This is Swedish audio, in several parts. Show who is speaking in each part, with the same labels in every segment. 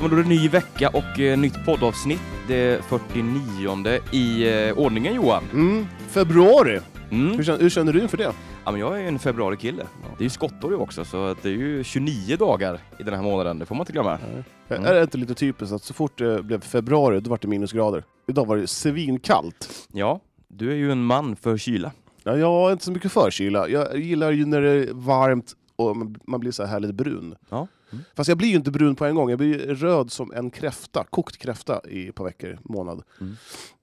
Speaker 1: Men då är det ny vecka och eh, nytt poddavsnitt. Det 49 i eh, ordningen Johan.
Speaker 2: Mm. Februari. Hur
Speaker 1: Mm.
Speaker 2: känner, hur känner du inför det?
Speaker 1: Ja, men jag är ju en februarikille. Det är ju skottår ju också så att det är ju 29 dagar i den här månaden. Det får man inte glömma.
Speaker 2: Eh,
Speaker 1: Mm.
Speaker 2: Är det inte lite typiskt att så fort det blev februari, då var det minusgrader. Idag var det svinkallt.
Speaker 1: Ja, du är ju en man för kyla.
Speaker 2: Ja, jag är inte så mycket för kyla. Jag gillar ju när det är varmt och man- man blir så här härligt brun.
Speaker 1: Ja.
Speaker 2: Fast jag blir ju inte brun på en gång, jag blir ju röd som en kräfta, kokt kräfta i ett par veckor, månad.
Speaker 1: Mm.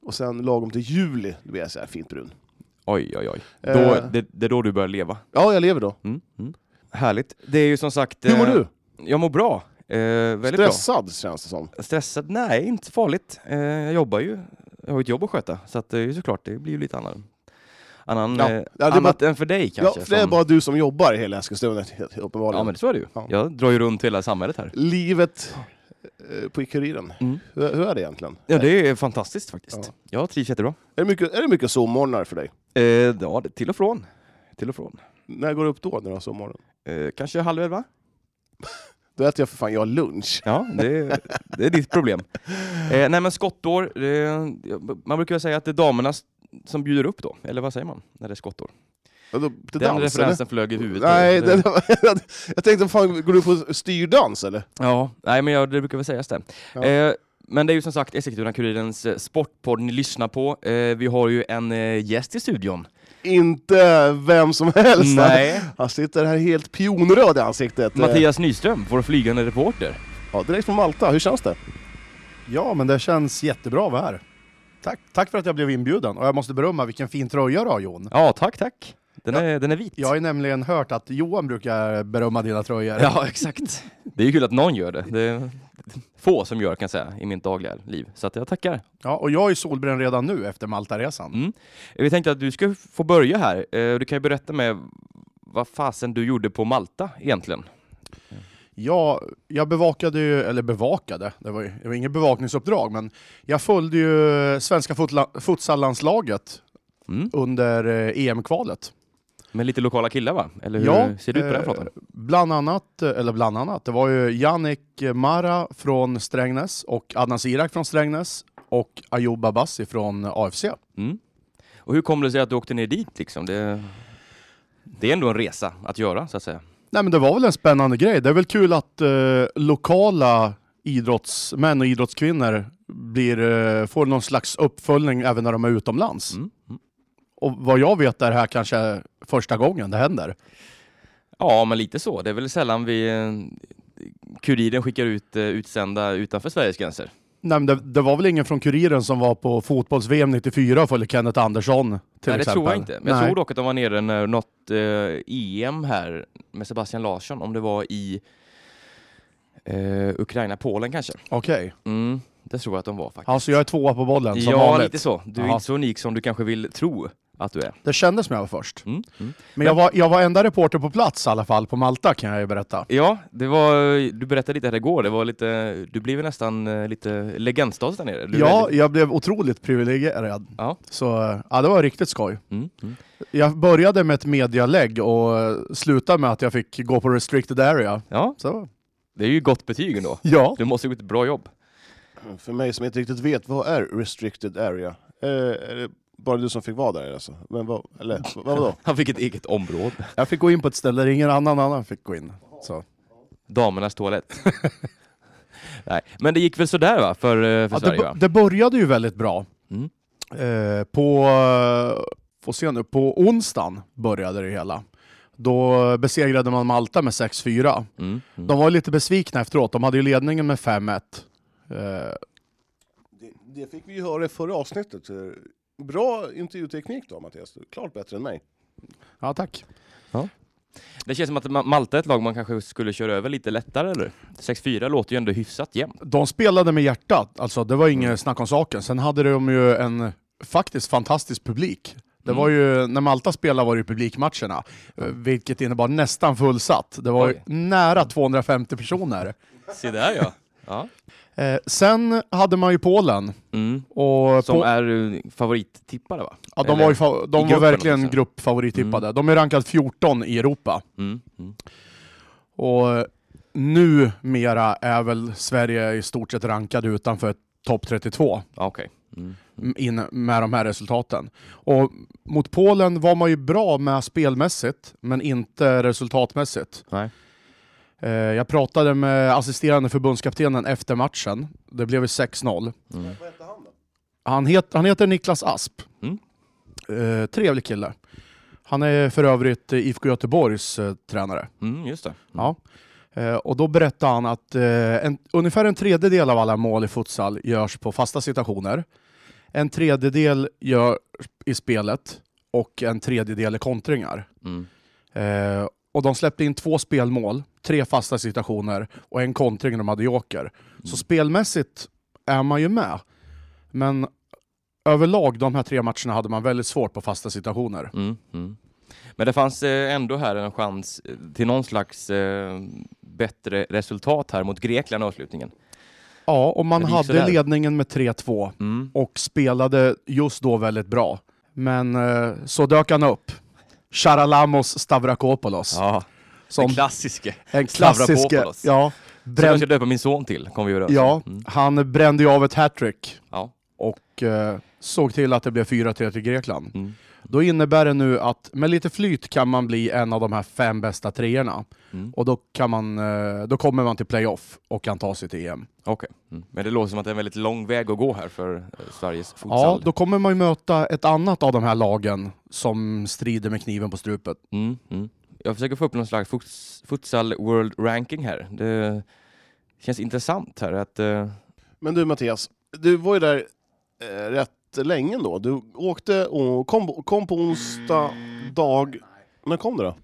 Speaker 2: Och sen lagom till juli, då blir jag så här fint brun.
Speaker 1: Oj, oj, oj.
Speaker 2: Eh.
Speaker 1: Då, det, det är då du börjar leva.
Speaker 2: Ja, jag lever då.
Speaker 1: Mm. Mm. Härligt. Det är ju som sagt...
Speaker 2: Hur mår
Speaker 1: eh,
Speaker 2: du?
Speaker 1: Jag mår bra. Eh, väldigt
Speaker 2: Stressad känns det som.
Speaker 1: bra. Stressad? Nej, inte farligt. Eh, jag jobbar ju. Jag har ju ett jobb att sköta, så att det är ju såklart, det blir ju lite annan... Annan,
Speaker 2: Ja.
Speaker 1: eh,
Speaker 2: Ja, det är
Speaker 1: annat än för dig
Speaker 2: Ja,
Speaker 1: kanske.
Speaker 2: för det är
Speaker 1: som-
Speaker 2: bara du som jobbar i hela Eskilstuna, helt uppenbarligen.
Speaker 1: ja men så är det ju.
Speaker 2: Ja.
Speaker 1: Jag drar ju runt hela samhället här.
Speaker 2: Livet eh, på Kuriren,
Speaker 1: Mm.
Speaker 2: hur, hur är det egentligen?
Speaker 1: Ja, det är fantastiskt faktiskt.
Speaker 2: Ja.
Speaker 1: Jag trivs jättebra.
Speaker 2: Är det mycket, är det mycket sovmorgnar för dig?
Speaker 1: Eh, ja, det- till och från. Till och från.
Speaker 2: När går du upp då, när du har sovmorgon?
Speaker 1: Eh, kanske halv elva?
Speaker 2: Då äter jag för fan jag har lunch.
Speaker 1: Ja, det, det är ditt problem. Eh, nej men skottår, eh, man brukar väl säga att det är damerna s- som bjuder upp då, eller vad säger man när det är skottår?
Speaker 2: Ja, då, till
Speaker 1: Den
Speaker 2: dans, eller?
Speaker 1: referensen flög i huvudet.
Speaker 2: Nej,
Speaker 1: Det-
Speaker 2: det, jag tänkte, fan, går du på styrdans eller?
Speaker 1: Ja, nej men jag, det brukar väl sägas det.
Speaker 2: Ja.
Speaker 1: Eh, men det är ju som sagt Eskilstuna-Kurirens eh, sportpodd ni lyssnar på. Eh, vi har ju en eh, gäst i studion.
Speaker 2: Inte vem som helst.
Speaker 1: Nej.
Speaker 2: Han sitter här helt pionröd i ansiktet.
Speaker 1: Mattias Nyström, vår flygande reporter.
Speaker 2: Ja, direkt från Malta, hur känns det?
Speaker 3: Ja, men det känns jättebra att vara här. Tack, tack för att jag blev inbjuden. Och jag måste berömma, vilken fin tröja du har Jon.
Speaker 1: Ja, tack tack. Den, är, den är vit.
Speaker 3: Jag har ju nämligen hört att Johan brukar berömma dina tröjor.
Speaker 1: Ja, exakt. Det är ju kul att någon gör det. Det är få som gör kan jag säga i mitt dagliga liv. Så att jag tackar.
Speaker 3: Ja, och jag är solbränd redan nu efter Maltaresan.
Speaker 1: Mm. Vi tänkte att du ska få börja här. Eh, Du kan ju berätta med vad fasen du gjorde på Malta egentligen.
Speaker 3: Jag, jag bevakade ju, eller bevakade, det var, ju, det var inget bevakningsuppdrag, men jag följde ju svenska fotla- futsallandslaget
Speaker 1: Mm.
Speaker 3: under eh, EM-kvalet.
Speaker 1: Med lite lokala killar va? Eller hur
Speaker 3: Ja,
Speaker 1: ser det ut på den
Speaker 3: eh,
Speaker 1: fronten?
Speaker 3: Bland annat, eller bland annat, det var ju Jannik Mara från Strängnäs och Adnan Sirak från Strängnäs och Ayoub Abbasi från AFC.
Speaker 1: Mm. Och hur kom det sig att du åkte ner dit liksom? Det, det är ändå en resa att göra så att säga.
Speaker 3: Nej men det var väl en spännande grej. Det är väl kul att eh, lokala idrottsmän och idrottskvinnor blir, eh, får någon slags uppföljning även när de är utomlands.
Speaker 1: Mm. Mm.
Speaker 3: Och vad jag vet är det här kanske första gången det händer.
Speaker 1: Ja, men lite så. Det är väl sällan vi eh, Kuriren skickar ut eh, utsända utanför Sveriges gränser.
Speaker 3: Nej, men det, det var väl ingen från Kuriren som var på fotbolls-VM 94 och följde Kenneth Andersson till
Speaker 1: Nej, det
Speaker 3: exempel?
Speaker 1: tror jag inte. Men jag
Speaker 3: Nej.
Speaker 1: tror dock att de var nere när något eh, EM här med Sebastian Larsson, om det var i eh, Ukraina, Polen kanske.
Speaker 3: Okej.
Speaker 1: Mm, det tror jag att de var faktiskt.
Speaker 3: Alltså jag är tvåa på bollen som
Speaker 1: ja,
Speaker 3: vanligt.
Speaker 1: lite så. Du är
Speaker 3: Jaha.
Speaker 1: inte så unik som du kanske vill tro att du är.
Speaker 3: Det kändes som jag var först.
Speaker 1: Mm. Mm.
Speaker 3: Men jag var, jag var enda reporter på plats i alla fall på Malta kan jag ju berätta.
Speaker 1: Ja, det var, du berättade lite här igår, det var lite, du blev ju nästan eh, lite legendstatus där nere. Du
Speaker 3: Ja,
Speaker 1: är-
Speaker 3: jag blev otroligt privilegierad.
Speaker 1: ja.
Speaker 3: Så eh, ja, det var riktigt skoj.
Speaker 1: Mm. Mm.
Speaker 3: Jag började med ett medialägg och eh, slutade med att jag fick gå på restricted area.
Speaker 1: ja,
Speaker 3: Så,
Speaker 1: det är ju gott betyg ändå.
Speaker 3: ja.
Speaker 1: Du måste ha gjort ett bra jobb.
Speaker 2: Mm, För mig som inte riktigt vet, vad är restricted area? Eh, är det bara du som fick vara där alltså? Men vad, eller, vad, vadå?
Speaker 1: Han fick ett eget område.
Speaker 3: Jag fick gå in på ett ställe där ingen annan annan fick gå in. Så.
Speaker 1: Damernas toalett. Nej, men det gick väl sådär va, för, eh, för
Speaker 3: Ja, det,
Speaker 1: Sverige?
Speaker 3: bo-
Speaker 1: Va?
Speaker 3: det började ju väldigt bra.
Speaker 1: Mm.
Speaker 3: Eh, på, eh, får se nu, på onsdagen började det hela. Då besegrade man Malta med 6-4.
Speaker 1: Mm. Mm.
Speaker 3: De var lite besvikna efteråt. De hade ju ledningen med 5-1. Eh,
Speaker 2: Det, det fick vi ju höra i förra avsnittet. Bra intervjuteknik då Mattias, klart bättre än mig.
Speaker 3: ja, tack.
Speaker 1: Det känns som att Ma- Malta är ett lag man kanske skulle köra över lite lättare eller? 6-4 låter ju ändå hyfsat jämnt.
Speaker 3: De spelade med hjärtat. Alltså, det var inget snack om saken. Sen hade de ju en faktiskt fantastisk publik. Det
Speaker 1: Mm.
Speaker 3: var ju, när Malta spelade var det ju publikmatcherna, eh, vilket innebar nästan fullsatt. Det var ju
Speaker 1: Oj.
Speaker 3: nära 250 personer.
Speaker 1: Se där ja. ja.
Speaker 3: Eh, sen hade man ju Polen.
Speaker 1: Mm.
Speaker 3: Och
Speaker 1: Som
Speaker 3: Po-
Speaker 1: är eh, favorittippare va?
Speaker 3: ja, de
Speaker 1: eller-
Speaker 3: var, ju fa-
Speaker 1: i
Speaker 3: de var
Speaker 1: gruppen
Speaker 3: verkligen
Speaker 1: också.
Speaker 3: gruppfavorittippade. De är rankad 14 i Europa.
Speaker 1: Mm. Mm.
Speaker 3: Och numera är väl Sverige i stort sett rankad utanför topp 32
Speaker 1: Ja, Okej. Mm.
Speaker 3: m- in med de här resultaten. Och mot Polen var man ju bra med spelmässigt, men inte resultatmässigt.
Speaker 1: Nej.
Speaker 3: Eh, Jag pratade med assisterande förbundskaptenen efter matchen. Det blev ju 6-0.
Speaker 1: Mm.
Speaker 3: Han, het, han heter Niklas Asp.
Speaker 1: Mm.
Speaker 3: Eh, trevlig kille. Han är för övrigt eh, IFK Göteborgs eh, tränare.
Speaker 1: Mm, just det.
Speaker 3: Ja. Eh, och då berättade han att eh, en, ungefär en tredjedel av alla mål i futsal görs på fasta situationer. En tredjedel görs i spelet och en tredjedel är kontringar.
Speaker 1: Mm.
Speaker 3: Eh, och de släppte in två spelmål, tre fasta situationer och en kontring de hade joker.
Speaker 1: Mm.
Speaker 3: Så spelmässigt är man ju med. Men överlag de här tre matcherna hade man väldigt svårt på fasta situationer.
Speaker 1: Mm. Mm. Men det fanns eh, ändå här en chans eh, till någon slags eh, bättre resultat här mot Grekland i avslutningen.
Speaker 3: Ja, och man
Speaker 1: Men det gick sådär.
Speaker 3: hade ledningen med 3-2
Speaker 1: Mm.
Speaker 3: och spelade just då väldigt bra. Men eh, så dök han upp. Charalamos Stavrakopoulos.
Speaker 1: Ja,
Speaker 3: som
Speaker 1: den klassiske.
Speaker 3: en klassisk... eh,
Speaker 1: Stavrakopoulos.
Speaker 3: Ja,
Speaker 1: Som jag
Speaker 3: bränd,
Speaker 1: ska döpa min son till, kommer vi göra.
Speaker 3: ja,
Speaker 1: Mm.
Speaker 3: han brände ju av ett hattrick
Speaker 1: ja.
Speaker 3: och eh, såg till att det blev 4-3 till Grekland.
Speaker 1: Mm.
Speaker 3: Då innebär det nu att med lite flyt kan man bli en av de här fem bästa treorna.
Speaker 1: Mm.
Speaker 3: Och då, kan man, eh, då kommer man till playoff och kan ta sig till EM.
Speaker 1: Okej, mm. men det låter som att det är en väldigt lång väg att gå här för eh, Sveriges futsal.
Speaker 3: Ja, då kommer man ju möta ett annat av de här lagen som strider med kniven på strupet.
Speaker 1: mm, mm. Jag försöker få upp någon slags futs- futsal world ranking här. Det känns intressant här att... eh,
Speaker 2: Men du Mattias, du var ju där eh, rätt länge då. Du åkte och kom, kom på onsdag dag... När kom du då?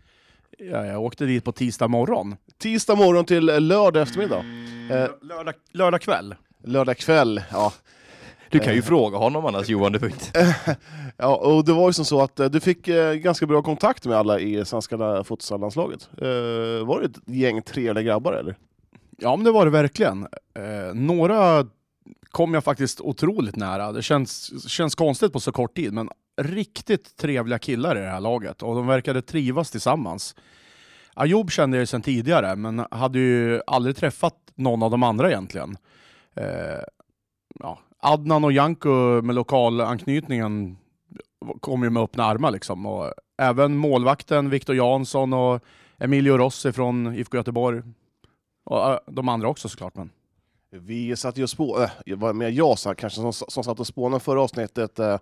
Speaker 3: Ja, jag åkte dit på tisdag morgon.
Speaker 2: Tisdag morgon till eh, lördag eftermiddag. Eh,
Speaker 3: Lördag, lördag kväll?
Speaker 2: lördag kväll, ja.
Speaker 1: Du kan ju fråga honom annars Johan, du får inte...
Speaker 2: ja. Och det var ju som så att eh, du fick eh, ganska bra kontakt med alla i svenska futsallandslaget. Eh, var det ett gäng trevliga grabbar eller?
Speaker 3: Ja, men det var det verkligen. Eh, några kom jag faktiskt otroligt nära. Det känns, känns konstigt på så kort tid, men riktigt trevliga killar i det här laget och de verkade trivas tillsammans. Ayoub kände jag ju sedan tidigare, men hade ju aldrig träffat någon av de andra egentligen. Eh, ja. Adnan och Janko med lokalanknytningen kom ju med öppna armar liksom. Och även målvakten Viktor Jansson och Emilio Rossi från IFK Göteborg och eh, de andra också såklart. Men.
Speaker 2: Vi satt ju och spånade, äh, vad menar jag sa, kanske som, som satt och spånade förra avsnittet, eh,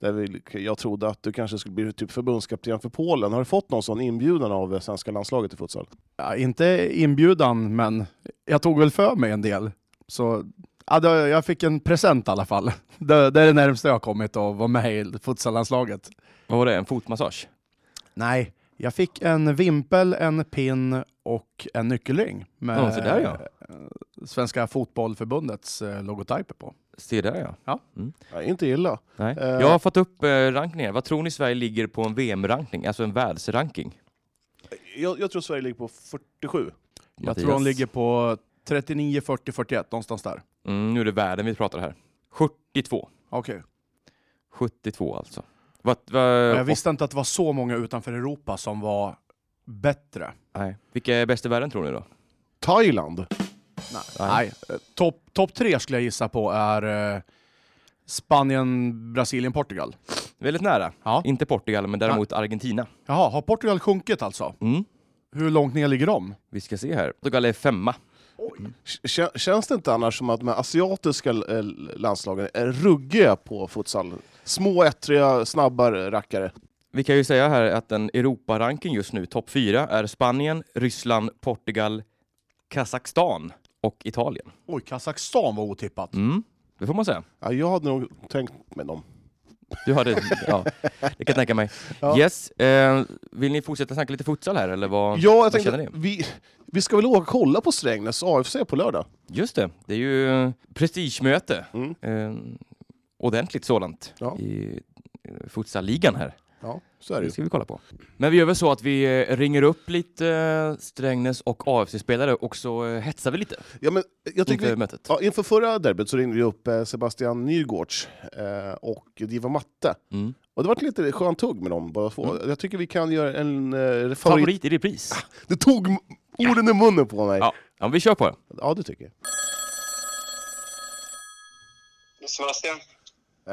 Speaker 2: där vi, jag trodde att du kanske skulle bli typ förbundskapten för Polen. Har du fått någon sån inbjudan av eh, svenska landslaget i futsal?
Speaker 3: Ja, inte inbjudan, men jag tog väl för mig en del. Så ja, det, jag fick en present i alla fall. Det, det är det närmaste jag har kommit att vara med i futsallandslaget.
Speaker 1: Vad var det? En fotmassage?
Speaker 3: Nej, jag fick en vimpel, en pin och en nyckelring med
Speaker 1: Ja, så där, ja.
Speaker 3: eh, Svenska Fotbollförbundets eh, logotyper på.
Speaker 1: Se där ja. Mm.
Speaker 2: Ja, inte illa.
Speaker 1: Nej.
Speaker 2: Eh.
Speaker 1: Jag har fått upp eh, rankningar. Vad tror ni Sverige ligger på en VM-rankning? Alltså en världsranking?
Speaker 2: Jag, jag tror Sverige ligger på 47.
Speaker 3: Jag tror de ligger på 39, 40, 41, någonstans där.
Speaker 1: Mm, nu är det världen vi pratar här. 72.
Speaker 3: Okej.
Speaker 1: 72 alltså. Vad- vad-
Speaker 3: Jag visste inte att det var så många utanför Europa som var bättre.
Speaker 1: och- nej. Vilka är bäst i världen tror ni då?
Speaker 2: Thailand?
Speaker 1: Nej.
Speaker 3: Nej. eh, Topp top tre skulle jag gissa på är eh, Spanien, Brasilien, Portugal.
Speaker 1: Väldigt nära.
Speaker 3: Ja.
Speaker 1: Inte Portugal, men däremot Argentina.
Speaker 3: Jaha, har Portugal sjunkit alltså?
Speaker 1: Mm.
Speaker 3: Hur långt ner ligger de?
Speaker 1: Vi ska se här. Portugal är femma.
Speaker 2: K- känns det inte annars som att de här asiatiska eh, landslagen är ruggiga på futsal? Små, ettriga, snabba rackare.
Speaker 1: Vi kan ju säga här att en Europaranking just nu, topp fyra, är Spanien, Ryssland, Portugal, Kazakstan och Italien.
Speaker 3: Oj, Kazakstan var otippat.
Speaker 1: Mm. Det får man säga.
Speaker 2: Ja, jag hade nog tänkt med dem.
Speaker 1: Du hade, ja, det kan jag tänka mig. Yes, eh, vill ni fortsätta snacka lite futsal här eller vad,
Speaker 2: Ja, jag
Speaker 1: vad
Speaker 2: tänkte,
Speaker 1: känner ni?
Speaker 2: vi, vi ska väl åka och kolla på Strängnäs AFC på lördag?
Speaker 1: Just det, det är ju eh, prestigemöte.
Speaker 2: Mm.
Speaker 1: Eh, ordentligt sådant
Speaker 2: Ja.
Speaker 1: i eh, futsalligan här.
Speaker 2: Ja, så är det
Speaker 1: Det
Speaker 2: ju.
Speaker 1: ska vi kolla på. Men vi gör väl så att vi eh, ringer upp lite eh, Strängnäs och AFC-spelare och så eh, hetsar vi lite
Speaker 2: Ja, men jag tycker
Speaker 1: inför
Speaker 2: vi,
Speaker 1: mötet.
Speaker 2: ja, inför förra derbyt så ringde vi upp eh, Sebastian Nygårds eh, och Diva Matte.
Speaker 1: Mm.
Speaker 2: Och det var lite skönt tugg med dem båda två. Jag tycker vi kan göra en eh, favorit...
Speaker 1: Favorit i repris.
Speaker 2: Du tog m- orden ur munnen på mig! Ja,
Speaker 1: Ja. Ja, men vi kör på det.
Speaker 2: ja det tycker jag.
Speaker 4: Sebastian?
Speaker 2: Nej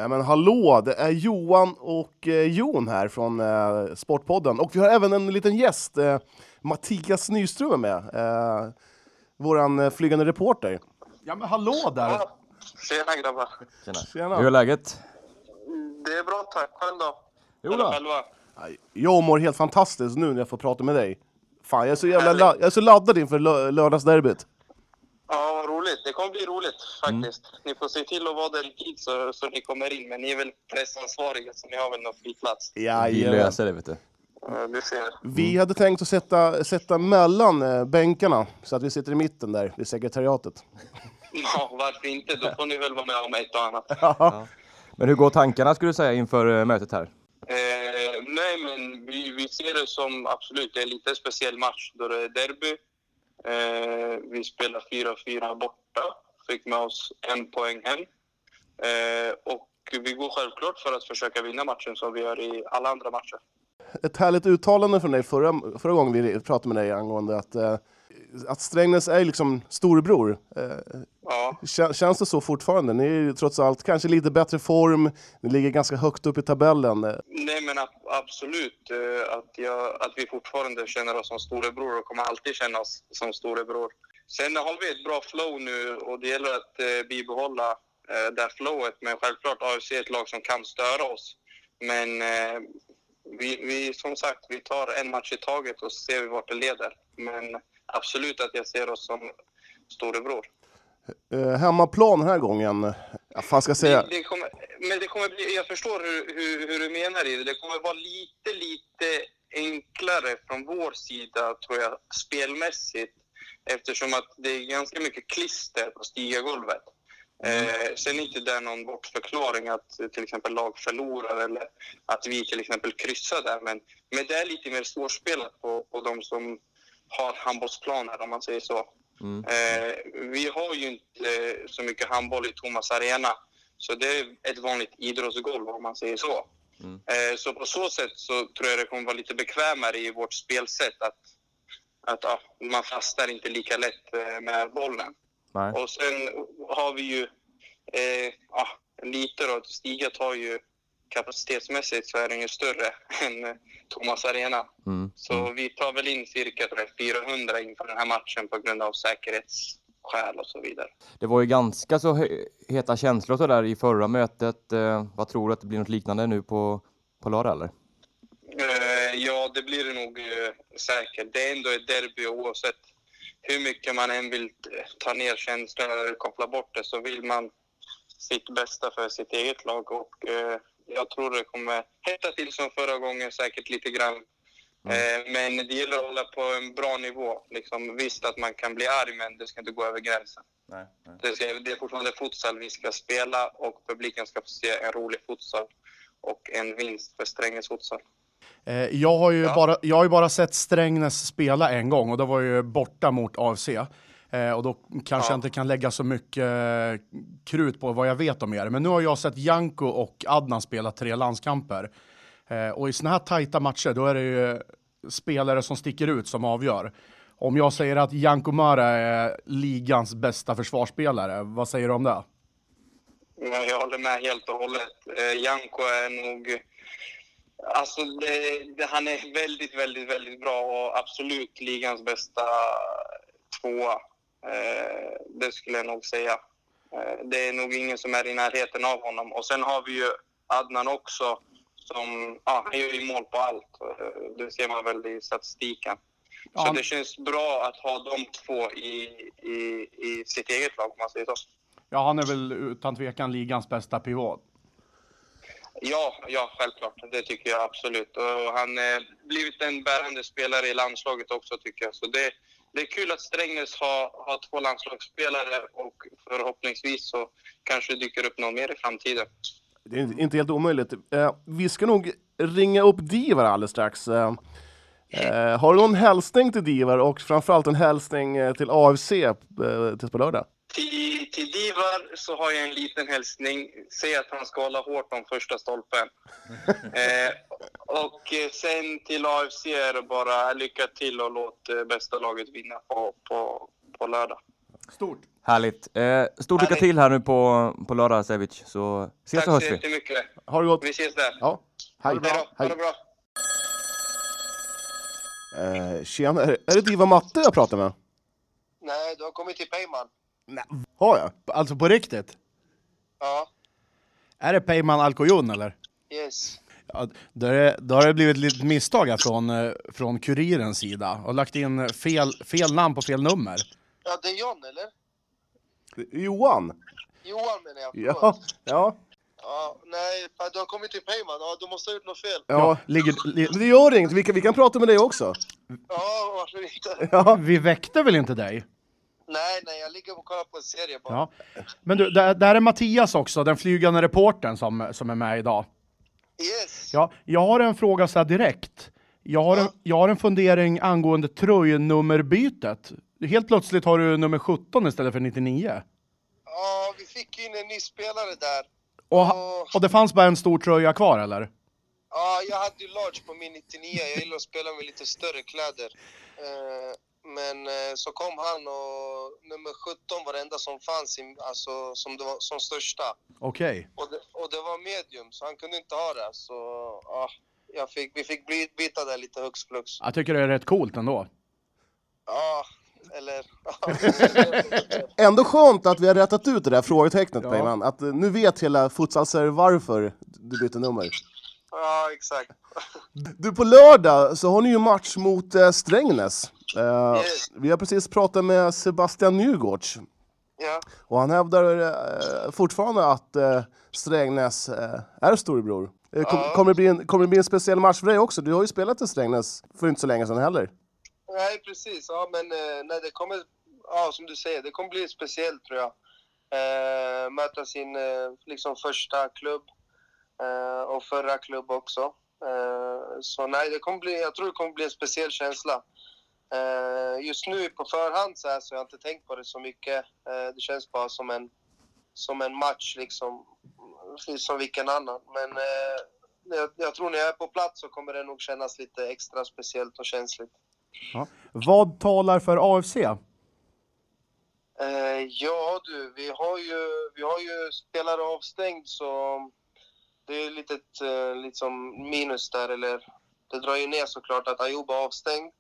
Speaker 2: Eh, men hallå, det är Johan och eh, Jon här från eh, Sportpodden. Och vi har även en liten gäst, eh, Mattias Nyström är med. Eh, våran eh, flygande reporter.
Speaker 3: Ja men hallå där!
Speaker 4: Ja. Tjena grabbar.
Speaker 2: Tjena!
Speaker 1: Hur är läget?
Speaker 4: Det är bra tack. Själv då?
Speaker 1: Jo då.
Speaker 4: Eller själva?
Speaker 2: Aj, Jag mår helt fantastiskt nu när jag får prata med dig. Fan, jag är så, jävla la- jag är så laddad inför lö- lördagsderbyt.
Speaker 4: Ja, vad roligt. Det kommer bli roligt faktiskt. Ni får se till att vara där i tid så, så ni kommer in. Men ni är väl pressansvariga så ni har väl någon fri plats.
Speaker 1: Vi
Speaker 2: Jajamän.
Speaker 1: löser det, vet du.
Speaker 4: Ja, Du ser.
Speaker 2: Vi hade tänkt att sätta, sätta mellan eh, bänkarna, så att vi sitter i mitten där, vid sekretariatet.
Speaker 4: Ja, varför inte? Då får ni väl vara med om ett och annat.
Speaker 1: Men hur går tankarna skulle du säga inför eh, mötet här?
Speaker 4: Eh, nej, men vi, vi ser det som absolut, det är en lite speciell match då det är derby. Eh, vi spelar 4-4 borta, fick med oss en poäng hem. Eh, och vi går självklart för att försöka vinna matchen som vi gör i alla andra matcher.
Speaker 2: ett härligt uttalande från dig förra, förra gången vi pratade med dig angående att, eh, att Strängnäs är liksom storebror. Eh,
Speaker 4: Ja,
Speaker 2: kä- känns det så fortfarande? Ni är ju trots allt kanske lite bättre form, ni ligger ganska högt upp i tabellen. Eh,
Speaker 4: nej men ab- absolut eh, att, jag, att vi fortfarande känner oss som storebror och kommer alltid känna oss som storebror. Sen har vi ett bra flow nu och det gäller att eh, bibehålla eh, det här flowet. Men självklart AFC är ett lag som kan störa oss. Men eh, vi, vi, som sagt, vi tar en match i taget och ser vi vart det leder. Men absolut att jag ser oss som storebror.
Speaker 2: Eh, hemmaplan den här gången, eh, ja, fan ska jag säga?
Speaker 4: Det, det kommer, men det kommer bli, jag förstår hur, hur, hur du menar i det. Det kommer vara lite, lite enklare från vår sida, tror jag, spelmässigt. Eftersom att det är ganska mycket klister på stigagolvet.
Speaker 2: Mm.
Speaker 4: Eh, sen är inte det någon bortförklaring att eh, till exempel lag förlorar eller att vi till exempel kryssar där. Men, men det är lite mer svårspelat på, på de som har handbollsplaner, om man säger så.
Speaker 2: Mm.
Speaker 4: Eh, vi har ju inte eh, så mycket handboll i Thomas Arena. Så det är ett vanligt idrottsgolv om man säger så.
Speaker 1: Mm.
Speaker 4: Eh, så på så sätt så tror jag det kommer vara lite bekvämare i vårt spelsätt att, att ja, man fastnar inte lika lätt eh, med bollen.
Speaker 1: Nej.
Speaker 4: Och sen har vi ju eh, ja, lite då, Stiga tar ju kapacitetsmässigt så är den ju större än eh, Thomas Arena.
Speaker 1: Mm.
Speaker 4: Så vi tar väl in cirka tror jag, 400 inför den här matchen på grund av säkerhetsskäl och så vidare.
Speaker 1: Det var ju ganska så hö- heta känslor så där i förra mötet. Eh, vad tror du att det blir något liknande nu på, på lördag eller?
Speaker 4: Eh, ja, det blir det nog eh, säkert. Det är ändå ett derby och oavsett hur mycket man än vill eh, ta ner känslorna eller koppla bort det så vill man sitt bästa för sitt eget lag och eh, jag tror det kommer hetta till som förra gången säkert lite grann.
Speaker 1: Mm.
Speaker 4: Eh, men det gäller att hålla på en bra nivå. Liksom, visst att man kan bli arg men det ska inte gå över gränsen.
Speaker 1: Nej, nej.
Speaker 4: Det, ska, det är fortfarande futsal vi ska spela och publiken ska få se en rolig futsal och en vinst för Strängnäs futsal.
Speaker 3: Eh, jag, har ju
Speaker 4: Ja.
Speaker 3: bara, jag har ju bara sett Strängnäs spela en gång och det var ju borta mot AFC. Eh, och då kanske jag inte kan lägga så mycket eh, krut på vad jag vet om er. Men nu har jag sett Janko och Adnan spela tre landskamper. Eh, och i såna här tajta matcher då är det ju spelare som sticker ut som avgör. Om jag säger att Janko Mara är ligans bästa försvarsspelare, vad säger du om det?
Speaker 4: Ja, Jag håller med helt och hållet. Eh, Janko är nog... Alltså det, det, han är väldigt, väldigt, väldigt bra och absolut ligans bästa tvåa. Eh, det skulle jag nog säga. Eh, det är nog ingen som är i närheten av honom. Och sen har vi ju Adnan också som... Ja, han gör ju mål på allt. Eh, det ser man väl i statistiken.
Speaker 3: Ja,
Speaker 4: Så
Speaker 3: han-
Speaker 4: det känns bra att ha de två i, i, i sitt eget lag om man säger så.
Speaker 3: Ja, han är väl utan tvekan ligans bästa pivot.
Speaker 4: Ja, ja, självklart. Det tycker jag absolut. Och han har blivit en bärande spelare i landslaget också tycker jag. Så det, det är kul att Strängnäs har, har två landslagsspelare och förhoppningsvis så kanske dyker upp någon mer i framtiden.
Speaker 2: Det är inte helt omöjligt. Eh, vi ska nog ringa upp Divar alldeles strax. Eh, eh, har du någon hälsning till Divar och framförallt en hälsning eh, till AFC eh, tills på lördag?
Speaker 4: Till, till Divar så har jag en liten hälsning. Säg att han ska hålla hårt om första stolpen. eh, och eh, sen till AFC är det bara lycka till och låt eh, bästa laget vinna på, på, på lördag.
Speaker 5: Härligt. Eh, stort lycka
Speaker 4: Härligt.
Speaker 5: till här nu på, på lördag, Sevic, så ses och
Speaker 4: Tack
Speaker 5: hörs
Speaker 4: så
Speaker 5: vi.
Speaker 4: jättemycket.
Speaker 2: Har det gott?
Speaker 4: Vi ses där.
Speaker 2: Ja, hej.
Speaker 4: Ha det bra. Ha det bra.
Speaker 2: Eh, tjena, är det, är det Diva Matte jag pratar med?
Speaker 4: Nej, du har kommit till Peyman.
Speaker 2: Har jag?
Speaker 3: Alltså på riktigt?
Speaker 4: Ja,
Speaker 3: Är det Peyman Alkojon eller?
Speaker 4: yes.
Speaker 3: Ja, då, är det, då har det blivit ett litet misstag här från, eh, från Kurirens sida och lagt in fel, fel namn på fel nummer.
Speaker 4: Ja, det är John, eller?
Speaker 2: Johan?
Speaker 4: Johan menar jag.
Speaker 2: Ja, ja.
Speaker 4: ja. Nej, du har kommit till Peyman. Ja, du måste ha gjort något fel.
Speaker 2: ja.
Speaker 3: Ligger, li,
Speaker 2: Men det gör inget, vi kan, vi kan prata med dig också.
Speaker 4: Ja, varför inte?
Speaker 3: vi väckte väl inte dig?
Speaker 4: Nej, nej, jag ligger och kollar på en serie bara.
Speaker 3: Ja. Men du, där, där är Mattias också, den flygande reportern som, som är med idag.
Speaker 4: Yes!
Speaker 3: Ja, jag har en fråga så här direkt. Jag har, en, jag har en fundering angående tröjnummerbytet. Helt plötsligt har du nummer 17 istället för 99.
Speaker 4: Ja, vi fick in en ny spelare där.
Speaker 3: Och, ha- och det fanns bara en stor tröja kvar eller?
Speaker 4: Ja, jag hade ju large på min 99. Jag gillar att spela med lite större kläder. Eh, Men eh, så kom han och nummer 17 var det enda som fanns, i, alltså som, det var, som största.
Speaker 3: Okej.
Speaker 4: Och det, och det var medium, så han kunde inte ha det. Så ja, jag fick, vi fick bli, byta där lite hux flux.
Speaker 3: Jag tycker det är rätt coolt ändå.
Speaker 4: Ja, eller...
Speaker 2: Ändå skönt att vi har rättat ut det där frågetecknet
Speaker 3: Ja.
Speaker 2: Peyman, att eh, nu vet hela futsalser varför du bytte nummer.
Speaker 4: ja, exakt.
Speaker 2: Du, på lördag så har ni ju match mot eh, Strängnäs. Eh,
Speaker 4: Yes.
Speaker 2: Vi har precis pratat med Sebastian Nygårds
Speaker 4: Ja.
Speaker 2: och han hävdar eh, fortfarande att eh, Strängnäs eh, är storebror. Eh, kom,
Speaker 4: Ja.
Speaker 2: kommer, det bli en, kommer det bli en speciell match för dig också? Du har ju spelat i Strängnäs för inte så länge sedan heller.
Speaker 4: Nej, precis. Ja, men eh, nej, det kommer, ja, som du säger, det kommer bli speciellt tror jag. Eh, möta sin eh, liksom första klubb eh, och förra klubb också. Eh, så nej, det kommer bli, jag tror det kommer bli en speciell känsla. Eh, just nu på förhand så, här, så har jag inte tänkt på det så mycket. Eh, det känns bara som en, som en match liksom, precis som vilken annan. Men eh, jag, jag tror när jag är på plats så kommer det nog kännas lite extra speciellt och känsligt.
Speaker 3: Vad talar för AFC?
Speaker 4: Eh, ja du, vi har, ju, vi har ju spelare avstängd så det är ju lite ett eh, liksom minus där. Eller, det drar ju ner såklart att Ayoub är avstängd.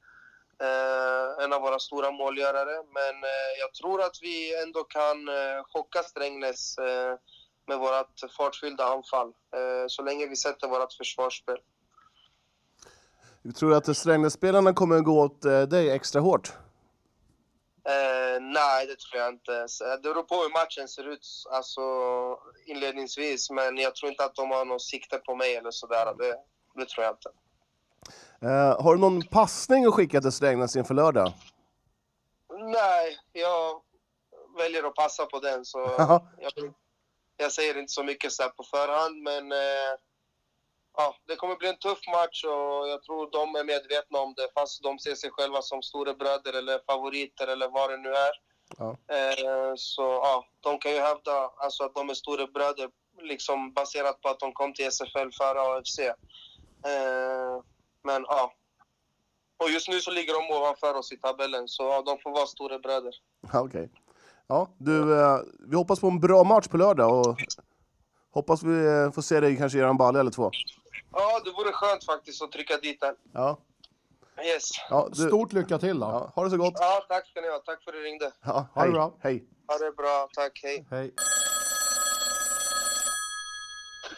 Speaker 4: Eh, en av våra stora målgörare. Men eh, jag tror att vi ändå kan eh, chocka Strängnäs eh, med vårt fartfyllda anfall. Eh, så länge vi sätter vårt försvarsspel.
Speaker 2: Jag tror att eh, Strängnäs-spelarna kommer att gå åt eh, dig extra hårt.
Speaker 4: Eh, nej, det tror jag inte. Så, eh, Det beror på hur matchen ser ut alltså, inledningsvis, men jag tror inte att de har något sikte på mig eller sådär. Det, det tror jag inte.
Speaker 2: Eh, har du någon passning att skicka till Strängnäs inför lördag?
Speaker 4: Nej, jag väljer att passa på den. Så
Speaker 2: Jaha.
Speaker 4: jag, jag säger inte så mycket så här på förhand, men eh, ja, det kommer bli en tuff match och jag tror de är medvetna om det, fast de ser sig själva som storebröder eller favoriter eller vad det nu är.
Speaker 2: Ja.
Speaker 4: Eh, så ja, de kan ju hävda alltså, att de är storebröder liksom baserat på att de kom till SFL före AFC. Eh, men ja, och just nu så ligger de ovanför oss i tabellen, så ja, de får vara storebröder.
Speaker 2: Ja, Okej. Ja, du, eh, vi hoppas på en bra match på lördag och hoppas vi eh, får se dig kanske göra en balja eller två.
Speaker 4: Ja, det vore skönt faktiskt att trycka dit den.
Speaker 2: Ja,
Speaker 4: Yes.
Speaker 2: ja, du,
Speaker 3: Stort lycka till då.
Speaker 2: ja, ha det så gott.
Speaker 4: Ja, tack ska ni ha. Tack för att du ringde.
Speaker 2: Ja,
Speaker 3: Ha det
Speaker 2: hej,
Speaker 3: bra.
Speaker 2: Hej.
Speaker 4: Ha det bra. Tack, hej.
Speaker 3: Hej.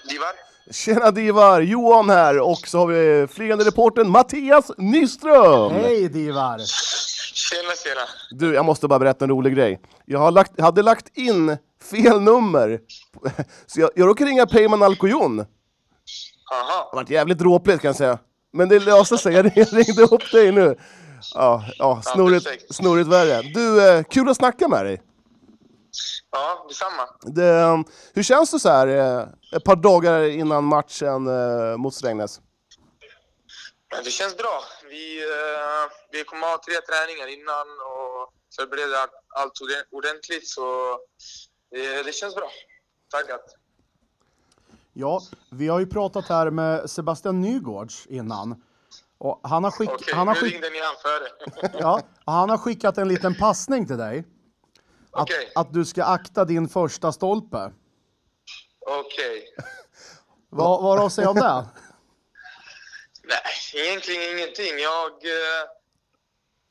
Speaker 4: Divar?
Speaker 2: Tjena Divar, Johan här och så har vi flygande reportern Mattias Nyström.
Speaker 3: Hej Divar!
Speaker 4: Tjena, tjena.
Speaker 2: Du, jag måste bara berätta en rolig grej. Jag har lagt, hade lagt in fel nummer, så jag, jag råkade ringa Peyman Alcoyon.
Speaker 4: Aha.
Speaker 2: Det har varit jävligt dråpligt kan jag säga. Men det löste sig, jag ringde upp dig nu. Ja, ja snurrigt,
Speaker 4: Ja, perfekt.
Speaker 2: snurrigt värre. Du, eh, kul att snacka med dig. ehm,
Speaker 4: Ja, detsamma.
Speaker 2: Det, eh, hur känns det så här eh, ett par dagar innan matchen eh, mot Strängnäs?
Speaker 4: Men Det känns bra. Vi, eh, vi kommer ha tre träningar innan och förbereda allt orde- ordentligt. Så eh, det känns bra. Taggat.
Speaker 6: Ja, vi har ju pratat här med Sebastian Nygårds innan. Och han, har skick...
Speaker 4: Okej,
Speaker 6: han, har
Speaker 4: nu
Speaker 6: skick...
Speaker 4: ringde ni han före.
Speaker 6: ja, han har skickat en liten passning till dig. Att,
Speaker 4: Okej.
Speaker 6: att du ska akta din första stolpe.
Speaker 4: Okej.
Speaker 6: Vad vad har du att säga om det?
Speaker 4: Nej, egentligen ingenting. Jag, eh,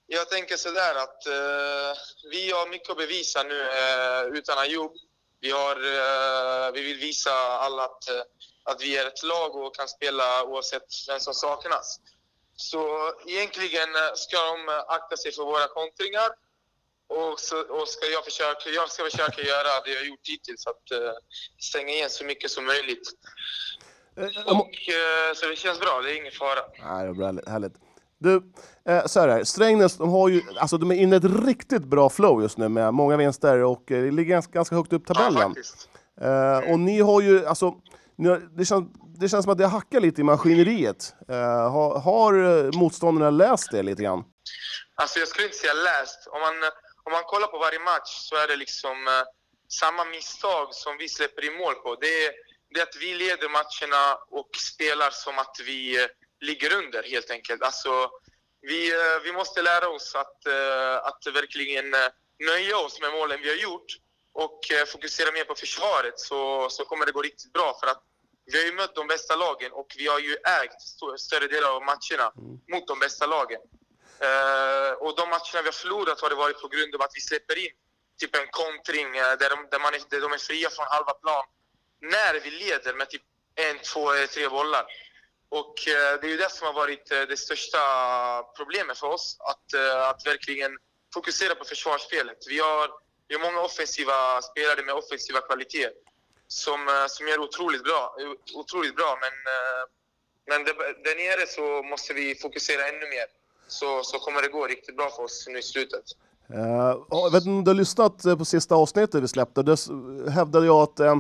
Speaker 4: jag tänker sådär att eh, vi har mycket att bevisa nu eh, utan Ayoub. Vi, har, eh, vi vill visa alla att, eh, att vi är ett lag och kan spela oavsett vem som saknas. Så egentligen eh, ska de eh, akta sig för våra kontringar och, så, och ska jag, försöka, jag ska försöka göra det jag gjort hittills, att eh, stänga igen så mycket som möjligt. Och, eh, så det känns bra, det är ingen fara.
Speaker 2: Nej, det var bra, härligt- härligt. Du, eh, så här är det. Strängnäs, de har ju, alltså de är inne i ett riktigt bra flow just nu med många vinster och eh, det ligger ganska, ganska högt upp
Speaker 4: Ja,
Speaker 2: tabellen.
Speaker 4: faktiskt.
Speaker 2: eh, och ni har ju, alltså, ni har, det, känns, det känns som att det hackar lite i maskineriet. Eh, har, har eh, motståndarna läst det lite grann?
Speaker 4: Alltså jag skulle inte säga läst. Om man, om man kollar på varje match så är det liksom eh, samma misstag som vi släpper in mål på. Det är, det är att vi leder matcherna och spelar som att vi eh, ligger under helt enkelt. Alltså, vi, eh, vi måste lära oss att, eh, att verkligen eh, nöja oss med målen vi har gjort och eh, fokusera mer på försvaret så, så kommer det gå riktigt bra. För att vi har ju mött de bästa lagen och vi har ju ägt st- större delar av matcherna mot de bästa lagen. Eh, och de matcherna vi har förlorat har det varit på grund av att vi släpper in typ en kontring eh, där, de, där, man är, där de är fria från halva plan. När vi leder med typ en, två, eh, tre bollar. Och eh, det är ju det som har varit eh, det största problemet för oss. Att, eh, att verkligen fokusera på försvarsspelet. Vi har, vi har många offensiva spelare med offensiva kvaliteter som, eh, som gör otroligt bra, otroligt bra men eh, men det, där nere så måste vi fokusera ännu mer. Så, så kommer det gå riktigt bra för oss nu i slutet.
Speaker 2: Eh, jag vet inte om du har lyssnat eh, på sista avsnittet vi släppte. Då s- hävdade jag att, eh,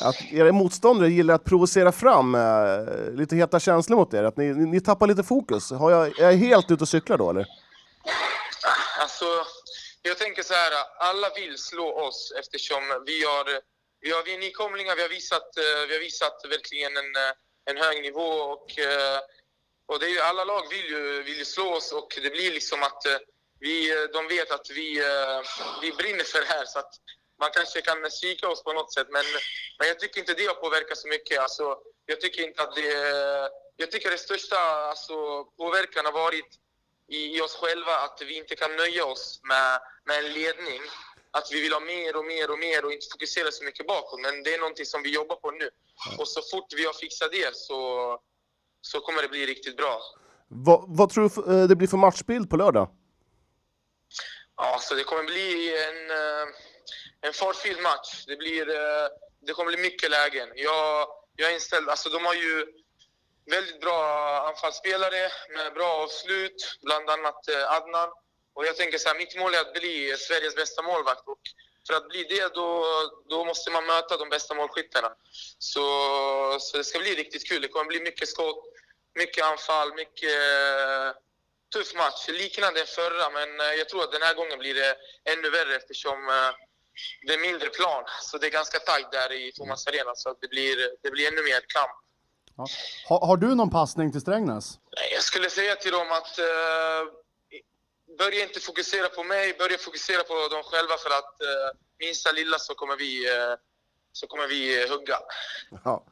Speaker 2: att era motståndare gillar att provocera fram eh, lite heta känslor mot er. Att ni, ni, ni tappar lite fokus. Har jag, är jag helt ute och cyklar då eller?
Speaker 4: Alltså, jag tänker så här, alla vill slå oss eftersom vi har, vi har vi är nykomlingar, vi har visat, eh, vi har visat verkligen en, eh, en hög nivå och, eh, och det är ju, alla lag vill ju, vill ju slå oss och det blir liksom att eh, vi, eh, de vet att vi, eh, vi brinner för det här så att man kanske kan svika oss på något sätt men, men jag tycker inte det har påverkat så mycket. Alltså, jag tycker inte att det, eh, jag tycker det största alltså, påverkan har varit i, i oss själva att vi inte kan nöja oss med, med en ledning. Att vi vill ha mer och mer och mer och inte fokusera så mycket bakåt. Men det är någonting som vi jobbar på nu. Och så fort vi har fixat det så, så kommer det bli riktigt bra.
Speaker 2: Vad, vad tror du f- eh, det blir för matchbild på lördag?
Speaker 4: Ja, så det kommer bli en, eh, en fartfylld match. Det, blir, eh, det kommer bli mycket lägen. Jag, jag är inställd. Alltså, de har ju väldigt bra anfallsspelare med bra avslut, bland annat eh, Adnan. Och jag tänker så här, mitt mål är att bli Sveriges bästa målvakt. Och för att bli det, då, då måste man möta de bästa målskyttarna. Så, så det ska bli riktigt kul. Det kommer bli mycket skott, mycket anfall, mycket... eh, tuff match, liknande den förra, men eh, jag tror att den här gången blir det ännu värre eftersom eh, det är mindre plan. Så det är ganska tajt där i Thomas Arena, så att det, blir, det blir ännu mer kamp.
Speaker 6: Ja. Har, har du någon passning till Strängnäs?
Speaker 4: Nej, Jag skulle säga till dem att eh, börja inte fokusera på mig, börja fokusera på dem själva för att eh, minsta lilla så kommer vi, eh, så kommer vi eh, hugga.
Speaker 2: Ja,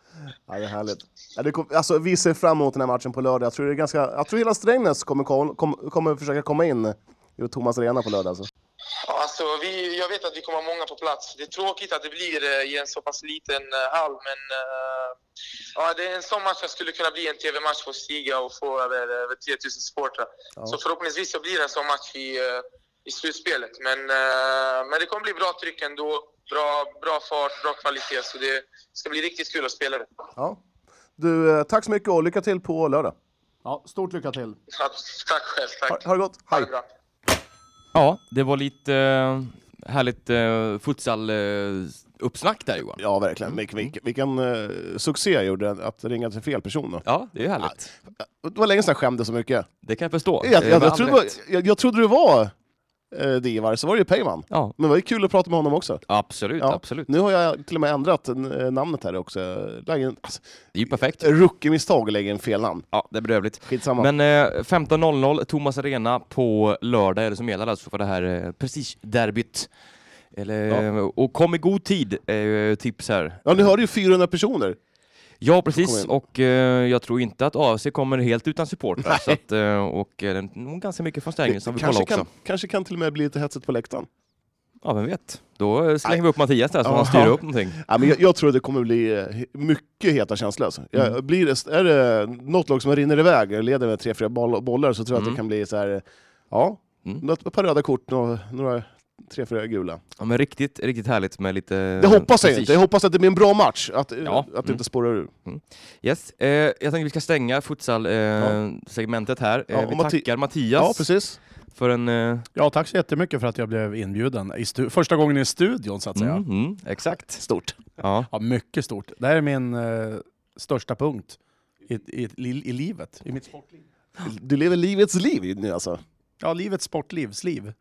Speaker 2: ja det är härligt. Ja, det kom, alltså, vi ser fram emot den här matchen på lördag. Jag tror, det är ganska, jag tror hela Strängnäs kommer, kom, kom, kommer försöka komma in i Thomas Arena på lördag. Alltså.
Speaker 4: Ja, Alltså, vi, jag vet att vi kommer ha många på plats. Det är tråkigt att det blir eh, i en så pass liten eh, hall, men eh, ja, det är en sån match som skulle kunna bli en TV-match för Stiga och få över, eh, över 3000 supportrar. Så förhoppningsvis så blir det en sån match i, eh, i slutspelet. Men, eh, men det kommer bli bra tryck ändå, bra, bra fart, bra kvalitet, så det ska bli riktigt kul att spela det.
Speaker 2: Ja. Du, eh, tack så mycket och lycka till på lördag.
Speaker 6: Ja, stort lycka till.
Speaker 4: Ja, Tack själv,
Speaker 2: Ha,
Speaker 4: tack.
Speaker 2: ha det gott.
Speaker 4: Ha
Speaker 2: Hej.
Speaker 4: det bra.
Speaker 1: Ja, det var lite eh, härligt eh, futsal eh, uppsnack där Johan.
Speaker 2: Ja, verkligen. Vilken,
Speaker 1: mm.
Speaker 2: vilken, vilken eh, succé jag gjorde att ringa till fel person. Då.
Speaker 1: Ja, det är ju härligt.
Speaker 2: Det var länge sedan jag skämde så mycket.
Speaker 1: Det kan jag förstå.
Speaker 2: Jag, jag,
Speaker 1: Eh,
Speaker 2: jag,
Speaker 1: med all
Speaker 2: trodde, det var-
Speaker 1: rätt.
Speaker 2: jag, jag trodde det var eh, Divar, så var det ju Peyman.
Speaker 1: Ja,
Speaker 2: Men det var ju kul att prata med honom också.
Speaker 1: absolut,
Speaker 2: Ja.
Speaker 1: absolut.
Speaker 2: Nu har jag till och med ändrat eh, namnet här också. Jag lägger in- Alltså,
Speaker 1: Det är ju perfekt.
Speaker 2: Rookie-misstag och lägger in fel namn.
Speaker 1: Ja, det är bedrövligt.
Speaker 2: Skitsamma.
Speaker 1: Men eh, 15.00, Thomas Arena på lördag är det som gäller alltså för det här eh, prestigederbyt. Eller, Och kom i god tid, eh, tips här.
Speaker 2: Ja, nu hörde ju 400 personer.
Speaker 1: Ja,
Speaker 2: Kom
Speaker 1: precis.
Speaker 2: in.
Speaker 1: Och eh, jag tror inte att AFC kommer helt utan supportrar. Så att, eh, och eh, det är nog ganska mycket från Strängnäs som vi kollar
Speaker 2: kanske,
Speaker 1: också.
Speaker 2: kan, kanske kan till och med bli lite hetsigt på läktaren.
Speaker 1: Ja, vem vet. Då eh, slänger vi upp Mattias där så han
Speaker 2: Ja.
Speaker 1: styr upp någonting.
Speaker 2: Ja, men jag, jag tror det kommer bli eh, mycket heta känslor. Alltså. Jag,
Speaker 1: Mm.
Speaker 2: blir det, är det något lag som rinner iväg och leder med tre, fyra boll, bollar så tror jag att det kan bli så här, ja,
Speaker 1: Mm. Eh,
Speaker 2: något, ett par röda kort, några, några tre, fyra gula.
Speaker 1: Ja, men riktigt, riktigt härligt med lite...
Speaker 2: Det hoppas jag
Speaker 1: prestige.
Speaker 2: inte. Jag hoppas att det blir en bra match, att, eh,
Speaker 1: Ja.
Speaker 2: att det
Speaker 1: Mm.
Speaker 2: inte spårar ur.
Speaker 1: Yes. Eh, jag tänkte vi ska stänga futsal-segmentet här. Eh,
Speaker 2: Ja, och
Speaker 1: vi
Speaker 2: Matti-
Speaker 1: tackar
Speaker 2: Ja,
Speaker 1: Mattias
Speaker 2: precis.
Speaker 1: för en... Eh,
Speaker 3: Ja, tack så jättemycket för att jag blev inbjuden. I stu- första gången i studion så att säga.
Speaker 1: mm, mm, exakt.
Speaker 2: Stort.
Speaker 1: Ja.
Speaker 3: Ja, mycket stort. Det här är min eh, största punkt i, i, i, i livet. I mitt sportliv.
Speaker 2: Du lever livets liv nu alltså.
Speaker 3: Ja, livets sportlivsliv.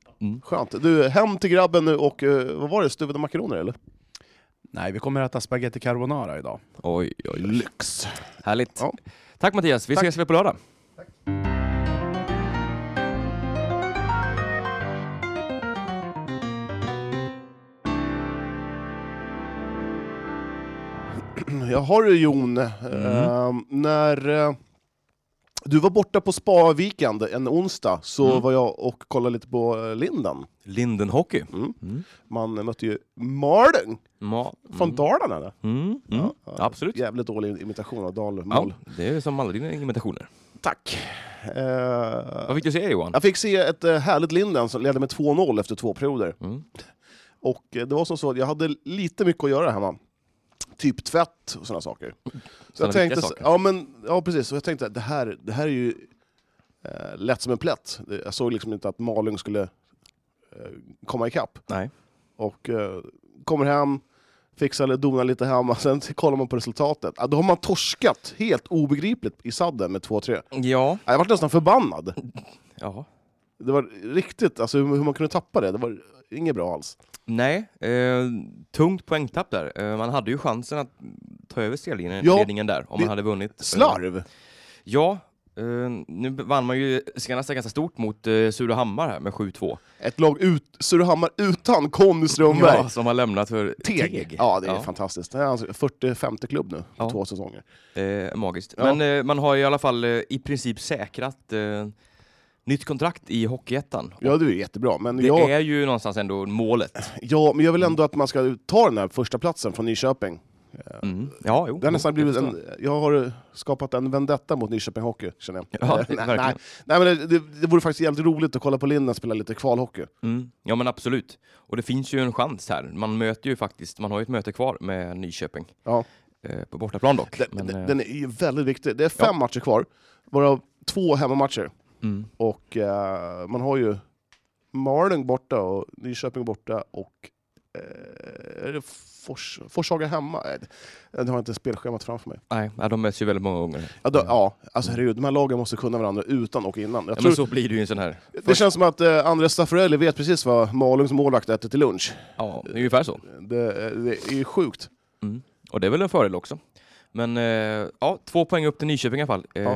Speaker 2: Skönt. Du, hem till grabben nu och, eh, vad var det, stuvade makaroner eller?
Speaker 3: Nej, vi kommer att äta spaghetti carbonara idag.
Speaker 1: Oj, oj, oj.
Speaker 2: Lyx.
Speaker 1: Härligt.
Speaker 2: Ja.
Speaker 1: Tack Mattias, vi ses väl på lördag.
Speaker 2: Jag har du Jon,
Speaker 1: Mm.
Speaker 2: Ehm, när eh, du var borta på Spa-weekend en onsdag så
Speaker 1: Mm.
Speaker 2: var jag och kollade lite på eh, Linden.
Speaker 1: Linden Hockey.
Speaker 2: Man mötte ju Malung
Speaker 1: Ma-
Speaker 2: från Dalarna. Eller?
Speaker 1: mm, mm.
Speaker 2: Ja,
Speaker 1: Absolut.
Speaker 2: Jävligt dålig imitation av
Speaker 1: Ja,
Speaker 2: dalmål.
Speaker 1: det är som alla dina imitationer.
Speaker 2: Tack. Eh,
Speaker 1: Vad fick du se Johan?
Speaker 2: jag fick se ett eh, härligt Linden som ledde med 2-0 efter två perioder.
Speaker 1: Mm.
Speaker 2: Och eh, det var som så att jag hade lite mycket att göra hemma. Typ tvätt och sådana saker. Så
Speaker 1: Mm. Såna
Speaker 2: jag tänkte,
Speaker 1: viktiga
Speaker 2: så-
Speaker 1: saker.
Speaker 2: ja, men, ja precis, så jag tänkte att det här, det här är ju eh, lätt som en plätt. Det- Jag såg liksom inte att Malung skulle eh, komma ikapp.
Speaker 1: Nej.
Speaker 2: Och eh, kommer hem, fixar eller donar lite hemma, sen kollar man på resultatet. Ja, då har man torskat helt obegripligt i sadden med 2-3.
Speaker 1: Ja.
Speaker 2: Ja, Jag var nästan förbannad.
Speaker 1: ja.
Speaker 2: Det var riktigt, alltså hur hur man kunde tappa det, det var inget bra alls.
Speaker 1: Nej, eh, tungt poängtapp där. Eh, man hade ju chansen att ta över segerledningen
Speaker 2: Ja,
Speaker 1: ledningen där om
Speaker 2: det-
Speaker 1: man hade vunnit.
Speaker 2: Slarv!
Speaker 1: Ja, eh, nu vann man ju senast ganska stort mot eh, Surahammar här med 7-2.
Speaker 2: Ett lag ut, Surahammar utan Conny Strömberg.
Speaker 1: Ja, som har lämnat för Teg.
Speaker 2: Ja, det är fantastiskt. Det är hans 40-50 klubb nu, på
Speaker 1: Ja.
Speaker 2: två säsonger.
Speaker 1: Eh, magiskt.
Speaker 2: Ja.
Speaker 1: Men eh, man har i alla fall eh, i princip säkrat eh, nytt kontrakt i Hockeyettan.
Speaker 2: Ja, det är ju jättebra. Men,
Speaker 1: Det
Speaker 2: jag,
Speaker 1: är ju någonstans ändå målet.
Speaker 2: ja, men jag vill ändå att man ska ta den här första platsen från Nyköping.
Speaker 1: Mm. Ja, jo.
Speaker 2: Det har nästan
Speaker 1: jo,
Speaker 2: blivit
Speaker 1: jag
Speaker 2: en, jag har skapat en vendetta mot Nyköping Hockey, känner jag.
Speaker 1: Ja,
Speaker 2: Eh, nej,
Speaker 1: verkligen.
Speaker 2: nej, nej, men det, det, det vore faktiskt jävligt roligt att kolla på Linden spela lite kvalhockey.
Speaker 1: Mm. Ja men absolut. Och det finns ju en chans här. Man möter ju faktiskt, man har ju ett möte kvar med Nyköping.
Speaker 2: Ja.
Speaker 1: Eh, på bortaplan dock.
Speaker 2: Den,
Speaker 1: men,
Speaker 2: den,
Speaker 1: eh,
Speaker 2: den är ju väldigt viktig. Det är fem matcher kvar, varav två hemmamatcher.
Speaker 1: Mm.
Speaker 2: Och eh, man har ju Malung borta och Nyköping borta och eh, är det Fors, Forshaga hemma? Nej, det- Nu har jag inte spelschemat framför mig.
Speaker 1: Nej, ja, de möts ju väldigt många gånger.
Speaker 2: Ja, då, ja alltså herregud, de här lagen måste kunna varandra utan och innan. Jag
Speaker 1: Mm. Ja,
Speaker 2: tror,
Speaker 1: men så blir det ju en sån här.
Speaker 2: Det känns som att eh, Andres Staffarelli vet precis vad Malungs målvakt äter till lunch.
Speaker 1: Ja, ungefär så.
Speaker 2: Det, eh, det är ju sjukt.
Speaker 1: Mm. Och det är väl en fördel också. Men eh, ja, två poäng upp till Nyköping i alla fall. Eh,
Speaker 2: Ja.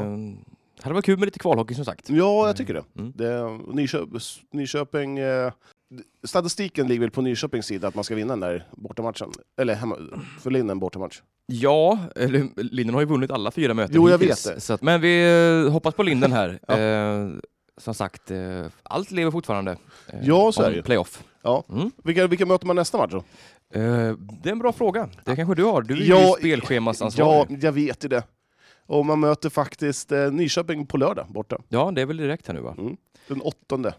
Speaker 1: Hade varit kul med lite kvalhockey som sagt.
Speaker 2: Ja, jag tycker det.
Speaker 1: Mm.
Speaker 2: det Nyköping, Nyköping eh, statistiken ligger väl på Nyköpings sida att man ska vinna den där bortamatchen. Eller hemma, för Linden bortamatch.
Speaker 1: Ja, eller Linden har ju vunnit alla fyra möten
Speaker 2: Jo, jag
Speaker 1: hittills,
Speaker 2: vet det.
Speaker 1: Så att, men vi eh, hoppas på Linden här. eh, som sagt, eh, allt lever fortfarande. Eh,
Speaker 2: Ja, så är
Speaker 1: om
Speaker 2: det ju.
Speaker 1: Playoff.
Speaker 2: Ja.
Speaker 1: Mm.
Speaker 2: Vilka, vilka möter man nästa match då?
Speaker 1: Eh, det är en bra fråga. Det kanske du har? Du är ju
Speaker 2: Ja, Ja,
Speaker 1: spelschemasansvarig. Ja.
Speaker 2: jag vet ju det. Och man möter faktiskt eh, Nyköping på lördag borta,
Speaker 1: det är väl direkt här nu va?
Speaker 2: den åttonde.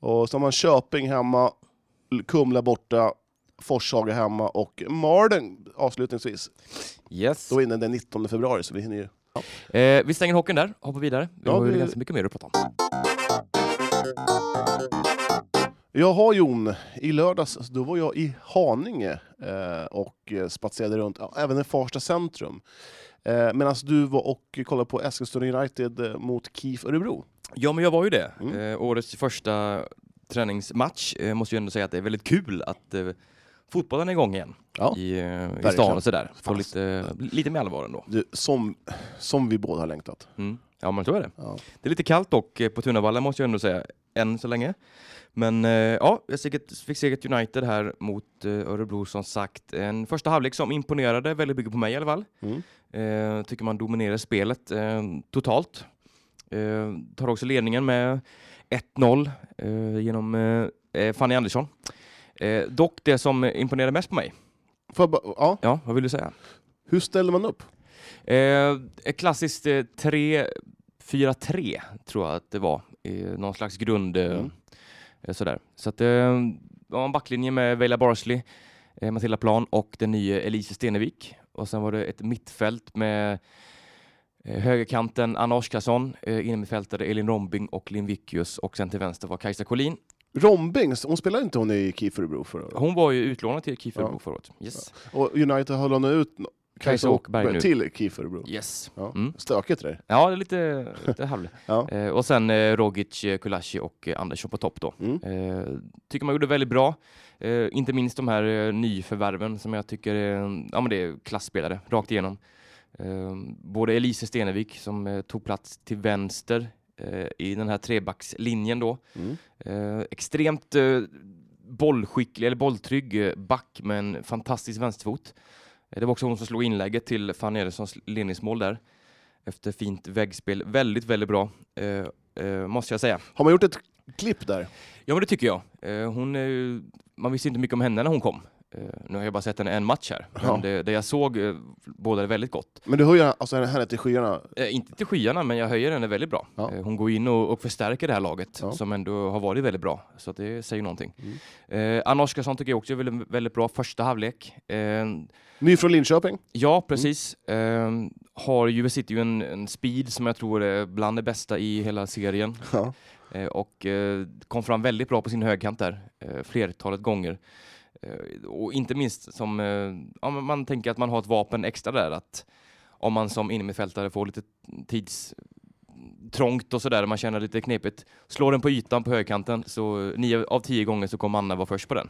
Speaker 2: Och så har man Köping hemma, Kumla borta, Forshaga hemma och Malden avslutningsvis.
Speaker 1: Yes.
Speaker 2: Då är den den 19 februari, så vi hinner ju...
Speaker 1: Eh, vi stänger hockeyn där, hoppar vidare. Vi
Speaker 2: Ja,
Speaker 1: har ju
Speaker 2: vi-
Speaker 1: ganska mycket mer att prata om.
Speaker 2: Jaha Jon, i lördags då var jag i Haninge eh, och eh, spatserade runt, ja, även i Farsta centrum. Eh, Medan du var och kollade på Eskilstuna United eh, mot KIF Örebro.
Speaker 1: Ja, men jag var ju det.
Speaker 2: Mm.
Speaker 1: Eh, årets första träningsmatch. Eh, måste ju ändå säga att det är väldigt kul att eh, fotbollen är igång igen
Speaker 2: Ja.
Speaker 1: i, eh, i
Speaker 2: Verkligen.
Speaker 1: stan och sådär. Få
Speaker 2: Fast.
Speaker 1: lite, lite mer allvar ändå.
Speaker 2: Du, som, som vi båda har längtat.
Speaker 1: Mm. Ja, men så är det.
Speaker 2: Ja.
Speaker 1: Det är lite kallt dock eh, på Tunavallen måste jag ändå säga, än så länge. Men eh, ja, jag fick- fick segert United här mot eh, Örebro som sagt. En första halvlek som imponerade väldigt mycket på mig i alla fall.
Speaker 2: Mm.
Speaker 1: Eh, tycker man dominerar spelet eh, totalt. Eh, tar också ledningen med 1-0 eh, genom eh, eh, Fanny Andersson. Eh, dock det som imponerade mest på mig,
Speaker 2: Får jag bara- ja.
Speaker 1: ja vad vill du säga?
Speaker 2: Hur ställer man upp?
Speaker 1: Eh, ett klassiskt eh, 3-4-3 tror jag att det var. Eh, någon slags grund. Eh,
Speaker 2: Mm.
Speaker 1: eh, sådär. Så att, eh, ja, en backlinje med Vela Barsley, eh, Matilda Plan och den nya Elise Stenevik. Och sen var det ett mittfält med eh, högerkanten Anna Oskarsson, eh, innermittfältare Elin Rombing och Linn Vickius och sen till vänster var Kajsa Collin.
Speaker 2: Rombing, hon spelade inte hon i KIF Örebro förra året?
Speaker 1: Hon var ju utlånad till KIF
Speaker 2: Ja.
Speaker 1: Örebro förra året. Yes.
Speaker 2: Och United höll honom ut no- Kajsa
Speaker 1: Kajsa Åkberg
Speaker 2: Åkberg
Speaker 1: nu.
Speaker 2: till KIF Örebro.
Speaker 1: yes.
Speaker 2: Ja.
Speaker 1: Mm.
Speaker 2: Stökigt det där.
Speaker 1: Ja, det är lite, lite halv.
Speaker 2: Ja.
Speaker 1: Eh, och sen eh, Rogic, eh, Kulashi och eh, Andersson på topp då.
Speaker 2: Mm.
Speaker 1: Eh, tycker man gjorde väldigt bra. Eh, inte minst de här eh, nyförvärven som jag tycker är, ja, men det är klassspelare rakt igenom. Eh, både Elise Stenevik som eh, tog plats till vänster eh, i den här trebackslinjen då.
Speaker 2: Mm.
Speaker 1: Eh, extremt eh, bollskicklig, eller bolltrygg eh, back med en fantastisk vänsterfot. Eh, det var också hon som slog inlägget till Fanny Erikssons ledningsmål där. Efter fint väggspel. Väldigt, väldigt bra. Eh, eh, måste jag säga.
Speaker 2: Har man gjort ett klipp där?
Speaker 1: Ja, men det tycker jag. Eh, hon, eh, man visste inte mycket om henne när hon kom. Eh, nu har jag bara sett henne en match här, men
Speaker 2: Ja.
Speaker 1: det, det jag såg eh, bådade väldigt gott.
Speaker 2: Men du höjer alltså henne till skyarna.
Speaker 1: Eh, inte till skyarna, men jag höjer henne väldigt bra.
Speaker 2: Ja.
Speaker 1: Eh, hon går in och, och förstärker det här laget
Speaker 2: Ja.
Speaker 1: som ändå har varit väldigt bra, så att det säger någonting.
Speaker 2: Mm.
Speaker 1: Eh, Anna Oskarsson tycker jag också är väldigt, väldigt bra första halvlek. Eh,
Speaker 2: Ny från Linköping.
Speaker 1: ja, precis. Eh, har ju, sitter ju en, en speed som jag tror är bland det bästa i hela serien.
Speaker 2: Ja.
Speaker 1: Eh, och eh, kom fram väldigt bra på sin högerkant där, eh, flertalet gånger. Eh, och inte minst som, eh, ja, men man tänker att man har ett vapen extra där, att om man som innermittfältare får lite tids trångt och sådär, man känner lite knepigt. Slår den på ytan på högerkanten så eh, nio av tio gånger så kommer Anna vara först på den.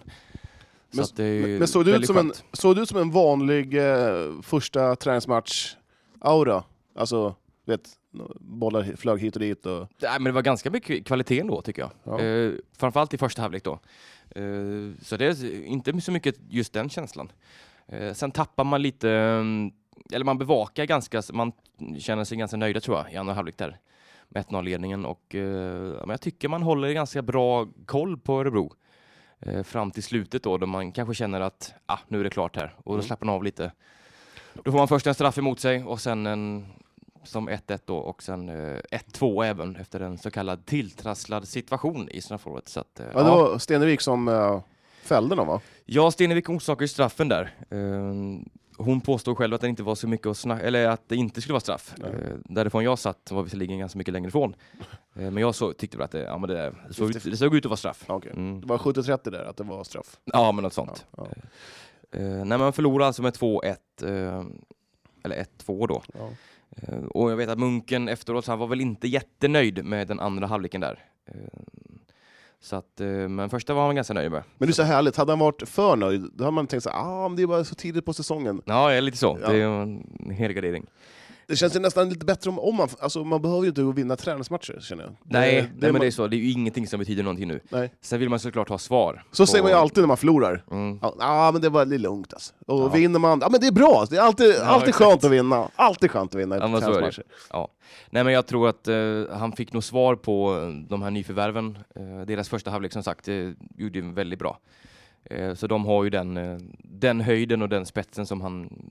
Speaker 2: Men-
Speaker 1: så att det är ju
Speaker 2: Men såg du, ut
Speaker 1: väldigt
Speaker 2: som en,
Speaker 1: skönt.
Speaker 2: såg du ut som en vanlig eh, första träningsmatch-aura? Alltså, du vet, bollar hi- flög hit och dit. Och...
Speaker 1: Nej, men det var ganska mycket kvalitet ändå tycker jag.
Speaker 2: Ja.
Speaker 1: Eh, framförallt i första halvlek då. Eh, så det är inte så mycket just den känslan. Eh, sen tappar man lite, mm, eller man bevakar ganska, man känner sig ganska nöjda tror jag i andra halvlek där. Med 1-0-ledningen och eh, ja, men jag tycker man håller ganska bra koll på Örebro. Eh, fram till slutet då, då man kanske känner att ah, nu är det klart här och då
Speaker 2: Mm.
Speaker 1: slappnar man av lite. Då får man först en straff emot sig och sen en som 1-1 då och sen eh, 1-2 även efter en så kallad tilltrasslad situation i straffområdet. Så att, eh,
Speaker 2: Ja, det var Stenevik som eh, fällde någon va?
Speaker 1: Ja, Stenevik orsakar ju straffen där. Eh, Hon påstod själv att det inte var så mycket att snacka, eller att det inte skulle vara straff. Eh, Därifrån jag satt var visserligen ganska mycket längre ifrån. Eh, Men jag så, tyckte väl att det, ja, men det, där, såg, ut- det såg ut att vara straff.
Speaker 2: Ja, okej.
Speaker 1: Mm.
Speaker 2: Det var 70-30 där, att det var straff.
Speaker 1: Ja, men något sånt.
Speaker 2: Ja,
Speaker 1: Eh, nej, man förlorar alltså med 2-1. Eh, eller 1-2 då.
Speaker 2: ja.
Speaker 1: Eh, och jag vet att Munken efteråt, han var väl inte jättenöjd med den andra halvleken där. Eh, så att, eh, men första var han ganska nöjd med.
Speaker 2: Men det är så härligt, hade han varit för nöjd, då hade man tänkt så här, ah, men det är bara så tidigt på säsongen.
Speaker 1: Ja, ja, lite så.
Speaker 2: Ja.
Speaker 1: Det är ju en helgardering.
Speaker 2: Det känns ju nästan lite bättre om, om man, alltså man behöver ju inte vinna träningsmatcher känner jag.
Speaker 1: Nej,
Speaker 2: Det-
Speaker 1: det,
Speaker 2: Eh, det
Speaker 1: nej
Speaker 2: man-
Speaker 1: men det är så. Det är ju ingenting som betyder någonting nu.
Speaker 2: Nej.
Speaker 1: Sen vill man såklart ha svar.
Speaker 2: Så
Speaker 1: på-
Speaker 2: säger man ju alltid när man förlorar.
Speaker 1: Mm.
Speaker 2: Ja, ah, men det var lite lugnt alltså. Och vinner man, ja ah, men det är bra, det är alltid, alltid
Speaker 1: exakt.
Speaker 2: skönt att vinna. Alltid skönt att vinna i
Speaker 1: Ja, men så är det.
Speaker 2: träningsmatcher.
Speaker 1: Ja. Nej, men jag tror att eh, han fick nog svar på eh, de här nyförvärven. Eh, deras första halvlek som sagt eh, gjorde ju väldigt bra. Eh, så de har ju den, eh, den höjden och den spetsen som han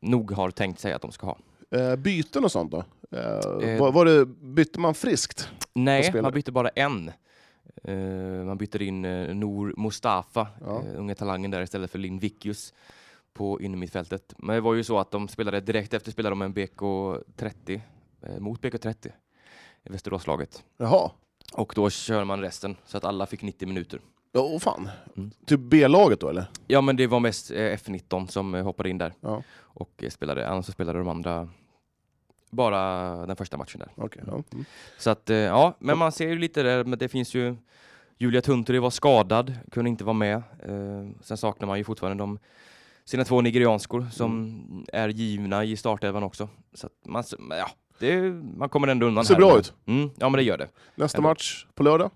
Speaker 1: nog har tänkt sig att de ska ha.
Speaker 2: Eh, byten och sånt då? Eh,
Speaker 1: Eh.
Speaker 2: Var, var det, bytte man friskt?
Speaker 1: Nej,
Speaker 2: spelare?
Speaker 1: man bytte bara en. Eh, man byter in uh, Nor Mustafa,
Speaker 2: Ja.
Speaker 1: eh, unga talangen där, istället för Linn Vickius på innermittfältet. Men det var ju så att de spelade direkt efter spelade de en BK30 eh, mot BK30, i Västeråslaget.
Speaker 2: Jaha.
Speaker 1: Och då kör man resten, så att alla fick 90 minuter.
Speaker 2: Ja, åh fan.
Speaker 1: Mm.
Speaker 2: Typ B-laget då eller?
Speaker 1: Ja, men det var mest eh, F19 som eh, hoppade in där
Speaker 2: Ja.
Speaker 1: och eh, spelade. Annars så spelade de andra bara den första matchen där.
Speaker 2: Okej. ja. Mm.
Speaker 1: Så att, eh, ja, men man ser ju lite där, men det finns ju Julia Tunturi var skadad, kunde inte vara med. Eh, sen saknar man ju fortfarande de, sina två nigerianskor som
Speaker 2: Mm.
Speaker 1: är givna i startelvan också. Så att man, s- men ja, det, man kommer ändå undan.
Speaker 2: Ser
Speaker 1: här.
Speaker 2: bra ut.
Speaker 1: Mm, ja, men det gör det.
Speaker 2: Nästa
Speaker 1: Ändå.
Speaker 2: match på lördag.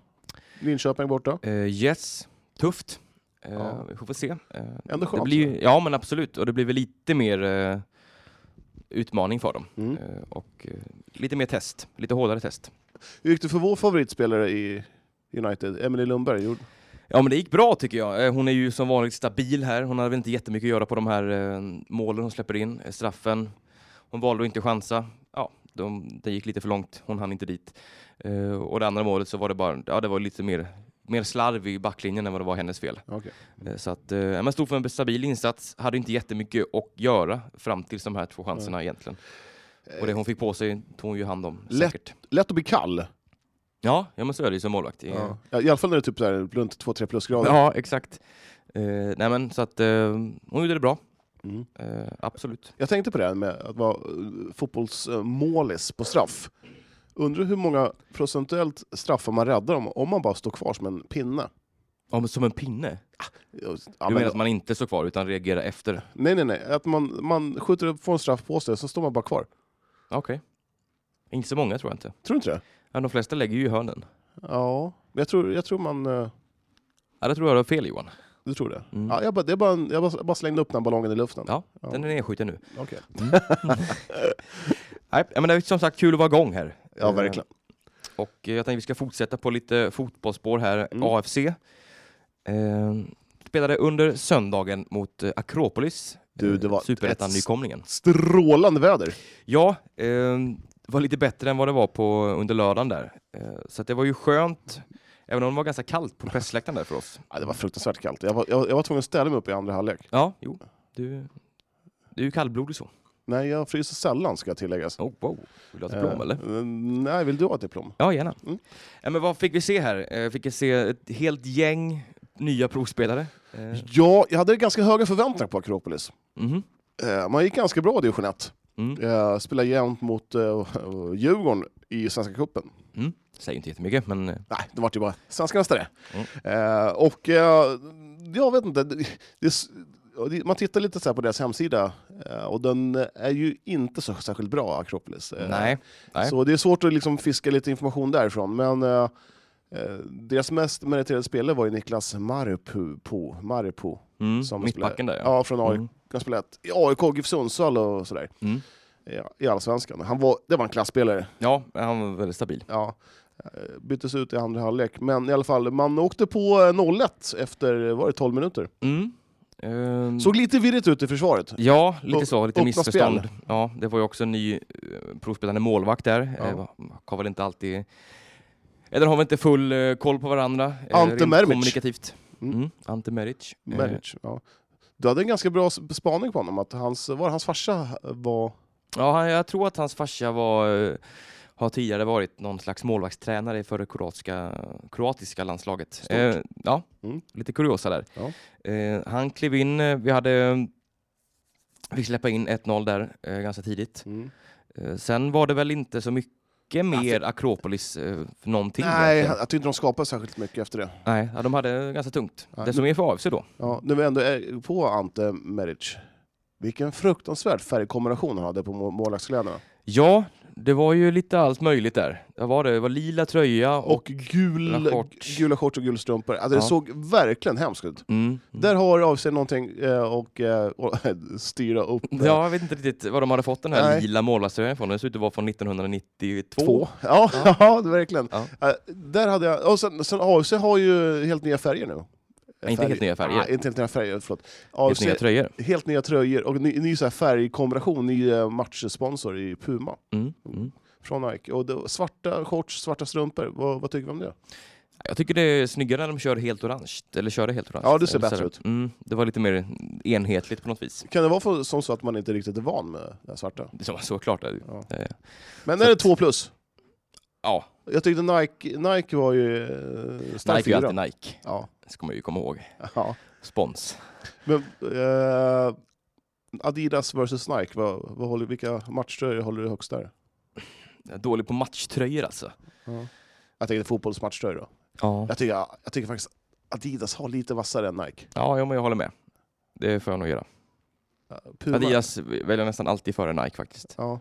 Speaker 2: Linköping borta.
Speaker 1: Eh, yes, tufft. Eh,
Speaker 2: Ja.
Speaker 1: Vi får se. Eh,
Speaker 2: Ändå
Speaker 1: Det
Speaker 2: skönt.
Speaker 1: blir, ja men absolut, och det blir väl lite mer eh, utmaning för dem.
Speaker 2: Mm.
Speaker 1: Eh, och eh, lite mer test, lite hårdare test.
Speaker 2: Hur gick det för vår favoritspelare i United, Emily Lundberg? Gjorde-
Speaker 1: Ja men det gick bra tycker jag. Eh, Hon är ju som vanligt stabil här. Hon hade väl inte jättemycket att göra på de här eh, målen hon släpper in, eh, straffen. Hon valde att inte chansa. Ja, de, det gick lite för långt. Hon hann inte dit. Eh, och det andra målet så var det bara, ja det var lite mer, mer slarv i backlinjen än vad det var hennes fel.
Speaker 2: Okej.
Speaker 1: Eh, Så att, eh, ja, men stod för en stabil insats, hade inte jättemycket att göra fram till de här två chanserna egentligen. Och det hon fick på sig tog hon ju hand om
Speaker 2: Lätt.
Speaker 1: säkert.
Speaker 2: Lätt att bli kall.
Speaker 1: Ja, ja men så är det ju som målvakt. Eh,
Speaker 2: Ja. I alla fall när det är typ så här runt 2-3 plusgrader.
Speaker 1: Ja, exakt. Eh, nej men så att eh, hon gjorde det bra.
Speaker 2: Mm.
Speaker 1: Eh, absolut.
Speaker 2: Jag tänkte på det här med att vara eh, fotbollsmålis på straff. Undrar hur många procentuellt straffar man räddar om, om man bara står kvar som en pinne?
Speaker 1: Ja, men som en pinne?
Speaker 2: Ja,
Speaker 1: du
Speaker 2: men-
Speaker 1: menar att man inte står kvar utan reagerar efter?
Speaker 2: Nej, nej, nej. Att man, man skjuter upp, får en straff på sig, så står man bara kvar.
Speaker 1: Okej. Inte så många tror jag inte.
Speaker 2: Tror du inte det?
Speaker 1: Ja, de flesta lägger ju i hörnen.
Speaker 2: Ja, men jag tror, jag tror man... eh,
Speaker 1: Ja, det tror jag du har fel Johan.
Speaker 2: Du tror det?
Speaker 1: Mm.
Speaker 2: Ja, jag, bara, det är bara en, jag, bara, jag bara slängde upp den här ballongen i luften.
Speaker 1: Ja, den är nedskjuten nu.
Speaker 2: Okej.
Speaker 1: Nej, men det är som sagt kul att vara igång här.
Speaker 2: ja verkligen.
Speaker 1: Och eh, jag tänkte vi ska fortsätta på lite fotbollsspår här,
Speaker 2: Mm.
Speaker 1: AFC. Eh, spelade under söndagen mot eh, Akropolis, Eh,
Speaker 2: Du, det var ett-
Speaker 1: superettan-nykomlingen.
Speaker 2: Strålande väder!
Speaker 1: Ja, eh, det var lite bättre än vad det var på, under lördagen där. Eh, så att det var ju skönt, även om det var ganska kallt på pressläktaren där för oss.
Speaker 2: Ja, det var fruktansvärt kallt. Jag var, jag, jag var tvungen att ställa mig upp i andra halvlek.
Speaker 1: Ja, jo, du, du är ju kallblodig så.
Speaker 2: Nej, jag fryser sällan ska tilläggas.
Speaker 1: Oh, wow. Vill du ha ett blom
Speaker 2: Eh,
Speaker 1: eller?
Speaker 2: eh, Nej, vill du ha ett diplom?
Speaker 1: Ja, gärna.
Speaker 2: Mm.
Speaker 1: Ja, men vad fick vi se här? Eh, fick vi se ett helt gäng nya provspelare. Eh,
Speaker 2: Ja, jag hade ganska höga förväntningar på Akropolis.
Speaker 1: mhm.
Speaker 2: Eh, Man gick ganska bra i division 1.
Speaker 1: Mm.
Speaker 2: Eh, Spelade jämnt mot eh, Djurgården i Svenska cupen.
Speaker 1: Mm. Säger inte jättemycket, men eh,
Speaker 2: Nej, det var ju bara svenska mästare.
Speaker 1: Mm.
Speaker 2: Eh, och eh, jag vet inte, det, det, är s- och det, man tittar lite så här på deras hemsida eh, och den är ju inte så särskilt bra, Akropolis. Eh,
Speaker 1: nej. nej.
Speaker 2: Så det är svårt att liksom fiska lite information därifrån. Men eh, eh, deras mest meriterade spelare var ju Niklas Maripu, på, Maripu
Speaker 1: Mm.
Speaker 2: som
Speaker 1: Mittbacken där,
Speaker 2: spelade-
Speaker 1: ja.
Speaker 2: ja. från AIK.
Speaker 1: Mm.
Speaker 2: Han spelade i AIK, GIF Sundsvall och sådär.
Speaker 1: Mm.
Speaker 2: Ja, I Allsvenskan. Han var, det var en klassspelare.
Speaker 1: Ja, han var väldigt stabil.
Speaker 2: Ja. Eh, Byttes ut i andra halvlek. Men i alla fall, man åkte på eh, 0-1 efter eh, var det 12 minuter.
Speaker 1: Mm. Ehm,
Speaker 2: Såg lite virrigt ut i försvaret.
Speaker 1: Ja, lite
Speaker 2: Upp-
Speaker 1: så. Lite
Speaker 2: öppna
Speaker 1: missförstånd.
Speaker 2: spel.
Speaker 1: Ja, det var ju också en ny eh, provspelande målvakt där.
Speaker 2: Ja.
Speaker 1: Ja. Har väl inte alltid... Eller har väl inte full eh, koll på varandra. eh,
Speaker 2: Ante
Speaker 1: rent
Speaker 2: Meric.
Speaker 1: Kommunikativt.
Speaker 2: Mm.
Speaker 1: Mm. Ante Meric. Eh,
Speaker 2: Meric, ja. Du hade en ganska bra s- spaning på honom, att hans, var det hans farsa eh, var...
Speaker 1: Ja, han- jag tror att hans farsa var... eh, Har tidigare varit någon slags målvaktstränare för det kroatiska, kroatiska landslaget.
Speaker 2: Stort.
Speaker 1: Eh, ja,
Speaker 2: Mm.
Speaker 1: lite kuriosa där.
Speaker 2: Ja.
Speaker 1: Eh, han klev in, eh, vi hade... eh, Fick släppa in 1-0 där eh, ganska tidigt.
Speaker 2: Mm.
Speaker 1: Eh, Sen var det väl inte så mycket mer Akropolis eh, för någonting.
Speaker 2: Alltså- Nej,
Speaker 1: egentligen.
Speaker 2: jag tyckte de skapade särskilt mycket efter det.
Speaker 1: Nej, ja, de hade ganska tungt.
Speaker 2: Ja,
Speaker 1: Desto mer för AFC då.
Speaker 2: Ja, nu är vi ändå eh, på Ante Meric. Vilken fruktansvärd färgkombination han hade på må- målvaktskläderna.
Speaker 1: Ja, det var ju lite allt möjligt där. Det var det, det var lila tröja och...
Speaker 2: Och gul,
Speaker 1: Gula shorts.
Speaker 2: gula shorts och gula strumpor. Alltså, Det
Speaker 1: Ja.
Speaker 2: såg verkligen hemskt ut.
Speaker 1: Mm.
Speaker 2: Där har av sig någonting eh, och, eh, och styra upp eh,
Speaker 1: Ja, jag vet inte riktigt var de hade fått den här
Speaker 2: Nej.
Speaker 1: lila målarströjan från. Den ser ut att vara från 1992.
Speaker 2: två. Ja, ja. verkligen.
Speaker 1: Ja.
Speaker 2: Eh, Där hade jag, och sen, sen AFC har ju helt nya färger nu.
Speaker 1: Nej, inte helt nya färger.
Speaker 2: Nej, inte helt nya färger, förlåt.
Speaker 1: Helt
Speaker 2: AFC,
Speaker 1: nya tröjor.
Speaker 2: helt nya tröjor och ny, ny så här färgkombination, ny eh, matchsponsor i Puma.
Speaker 1: Mm. Mm.
Speaker 2: från Nike. Och det, svarta shorts, svarta strumpor, vad, vad tycker vi om det?
Speaker 1: Jag tycker det är snyggare när de kör helt orange. Eller körde helt orange.
Speaker 2: Ja, det ser
Speaker 1: Eller så
Speaker 2: bättre
Speaker 1: här.
Speaker 2: ut.
Speaker 1: Mm. Det var lite mer enhetligt på något vis.
Speaker 2: Kan det vara för, som så att man inte riktigt är van med det här svarta?
Speaker 1: eh, Det var såklart.
Speaker 2: Ja.
Speaker 1: Ja.
Speaker 2: Men är det två plus?
Speaker 1: ja,
Speaker 2: Jag tyckte Nike, Nike var ju eh,
Speaker 1: Nike är
Speaker 2: stark
Speaker 1: ju
Speaker 2: fyra.
Speaker 1: alltid Nike.
Speaker 2: Ja.
Speaker 1: Det ska man ju komma ihåg.
Speaker 2: ja.
Speaker 1: Spons.
Speaker 2: Men, eh, Adidas versus Nike, vad, vad håller, vilka matchtröjor håller du högst där?
Speaker 1: Jag är dålig på matchtröjor alltså.
Speaker 2: Jag tänker fotbollsmatchtröjor då.
Speaker 1: Ja,
Speaker 2: Jag tycker, jag tycker faktiskt Adidas har lite vassare än Nike.
Speaker 1: ja jo, men jag håller med. Det får jag nog göra.
Speaker 2: Eh, Puma.
Speaker 1: Adidas väljer nästan alltid före Nike faktiskt.
Speaker 2: Ja.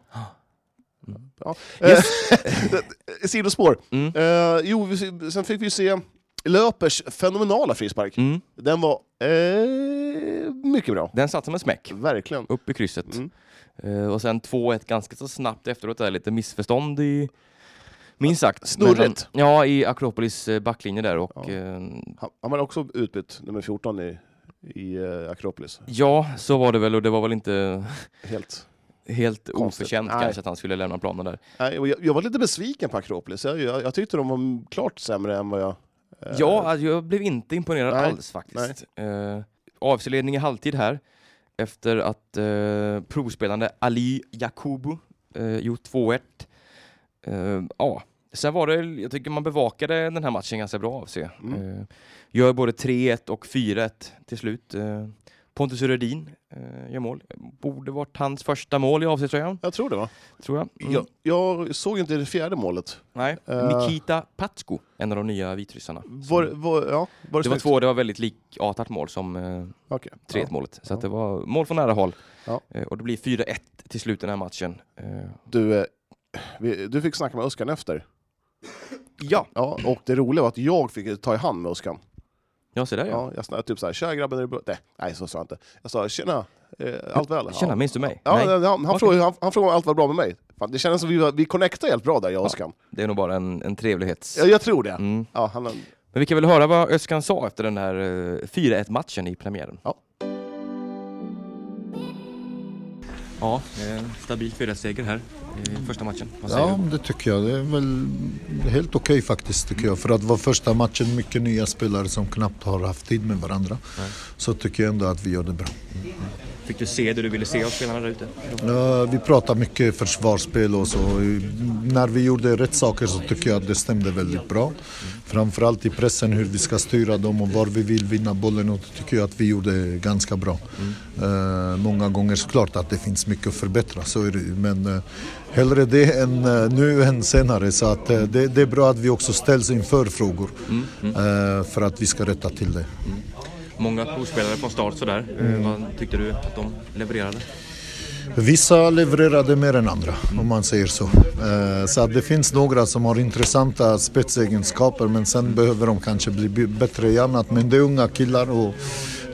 Speaker 1: Mm.
Speaker 2: Ja.
Speaker 1: Yes.
Speaker 2: Eh, Sidospår.
Speaker 1: Mm.
Speaker 2: Eh, jo, vi- sen fick vi se Löpers fenomenala frispark.
Speaker 1: Mm.
Speaker 2: Den var eh, mycket bra.
Speaker 1: Den satt som en smäck.
Speaker 2: Verkligen.
Speaker 1: Upp i krysset.
Speaker 2: Mm.
Speaker 1: Eh, och sen 2-1 ganska så snabbt efteråt. Där, lite missförstånd i... Minst sagt.
Speaker 2: Snurrigt.
Speaker 1: mellan- Ja, i Akropolis eh, backlinje där. Och,
Speaker 2: Ja.
Speaker 1: eh,
Speaker 2: Han, han var också utbytt, nummer 14 i, i eh, Akropolis.
Speaker 1: ja, så var det väl. Och det var väl inte
Speaker 2: Helt.
Speaker 1: helt
Speaker 2: Konstigt.
Speaker 1: oförtjänt
Speaker 2: Nej.
Speaker 1: kanske att han skulle lämna planen där.
Speaker 2: Nej, och jag, jag var lite besviken på Akropolis. Jag, jag, jag tyckte de var klart sämre än vad jag... eh,
Speaker 1: Ja, alltså, jag blev inte imponerad
Speaker 2: nej,
Speaker 1: alls faktiskt. Eh, AFC-ledning i halvtid här efter att eh, provspelande Ali Jakubu eh, gjort 2-1. Eh, ja. Sen var det, jag tycker man bevakade den här matchen ganska bra AFC.
Speaker 2: Mm.
Speaker 1: Eh, gör både 3-1 och 4-1 till slut. Eh, Pontus Rödin eh, gör mål. Borde varit hans första mål i AFC-tröjan,
Speaker 2: Jag tror det va?
Speaker 1: tror jag. Mm.
Speaker 2: Jag, jag såg inte det fjärde målet.
Speaker 1: Nej.
Speaker 2: Eh.
Speaker 1: Nikita Patsko, en av de nya vitryssarna.
Speaker 2: Var, var, ja,
Speaker 1: Mm.
Speaker 2: var det,
Speaker 1: Det var
Speaker 2: snyggt?
Speaker 1: två, det var väldigt likartat mål som eh,
Speaker 2: Okej.
Speaker 1: 3-1
Speaker 2: Ja.
Speaker 1: målet. Så att det var mål från nära håll.
Speaker 2: Ja.
Speaker 1: Eh, och det blir 4-1 till slut den här matchen. Eh,
Speaker 2: Du, eh, vi, du fick snacka med Öskan efter.
Speaker 1: ja,
Speaker 2: Ja, och det roliga var att jag fick ta i hand med Öskan.
Speaker 1: jag ser där ja.
Speaker 2: Ja, jag sa typ så här, tja grabben, är det bra? Nej, nej, så sa jag inte. Jag sa, tjena, eh, allt väl?
Speaker 1: Tjena,
Speaker 2: ja.
Speaker 1: minns du mig?
Speaker 2: Ja,
Speaker 1: Nej,
Speaker 2: han, han,
Speaker 1: Okej.
Speaker 2: frågade, han, han frågade om allt var bra med mig. Fan, det kändes som vi, var- vi connectade helt bra där, jag och Öskan.
Speaker 1: det är nog bara en, en trevlighets...
Speaker 2: Ja, jag tror det.
Speaker 1: Mm.
Speaker 2: Ja, han,
Speaker 1: Men vi kan väl höra vad Öskan sa efter den här eh, 4-1 matchen i premiären.
Speaker 2: Ja.
Speaker 1: Ja, eh, stabil 4-seger här i första matchen. Vad säger
Speaker 7: Ja, det tycker jag. Det är väl helt okej faktiskt tycker jag. För att vara första matchen, mycket nya spelare som knappt har haft tid med varandra. Så tycker jag ändå att vi gör det bra.
Speaker 1: du? Fick du se det du ville se av spelarna där ute?
Speaker 7: Ja, Eh, vi pratar mycket försvarsspel och så. När vi gjorde rätt saker så tycker jag att det stämde väldigt bra. Framförallt i pressen, hur vi ska styra dem och var vi vill vinna bollen. Och det tycker jag att vi gjorde ganska bra. Eh, många gånger såklart att det finns mycket att förbättra, så är det ju. Men eh, hellre det än eh, nu än senare. Så att, eh, det, det är bra att vi också ställs inför frågor eh, för att vi ska rätta till det.
Speaker 1: Många provspelare från start sådär. Eh, Vad tyckte du att de levererade?
Speaker 7: Vissa levererade mer än andra, om man säger så. Eh, Så att det finns några som har intressanta spetsegenskaper men sen behöver de kanske bli b- bättre i annat. Men det är unga killar och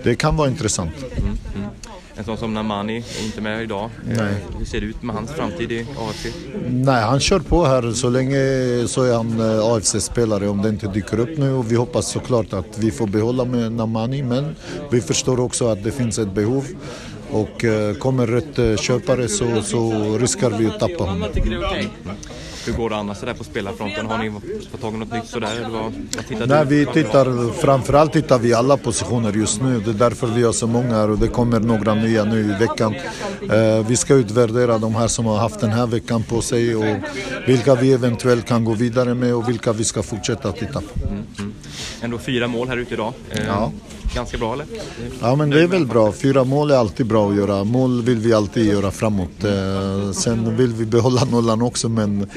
Speaker 7: det kan vara intressant.
Speaker 1: En sån som Namani är inte med idag. Eh,
Speaker 7: Nej.
Speaker 1: Hur ser det ut med hans framtid i AFC?
Speaker 7: Nej, han kör på här. Så länge så är han eh, AFC-spelare om det inte dyker upp nu. Och vi hoppas såklart att vi får behålla med Namani men vi förstår också att det finns ett behov. Och eh, kommer rätt eh, köpare så, så riskar vi att tappa honom.
Speaker 1: Hur går det annars sådär på spelarfronten? Har ni fått tag i något nytt sådär? Eller vad, vad tittar
Speaker 7: Nej,
Speaker 1: du?
Speaker 7: vi tittar, framförallt tittar vi alla positioner just nu. Det är därför vi har så många här och det kommer några nya nu i veckan. Eh, vi ska utvärdera de här som har haft den här veckan på sig och vilka vi eventuellt kan gå vidare med och vilka vi ska fortsätta titta på.
Speaker 1: Ändå fyra mål här ute idag. Eh,
Speaker 7: Ja.
Speaker 1: Ganska bra eller?
Speaker 7: Ja men det är väl bra. Fyra mål är alltid bra att göra. Mål vill vi alltid göra framåt. Eh, Sen vill vi behålla nollan också men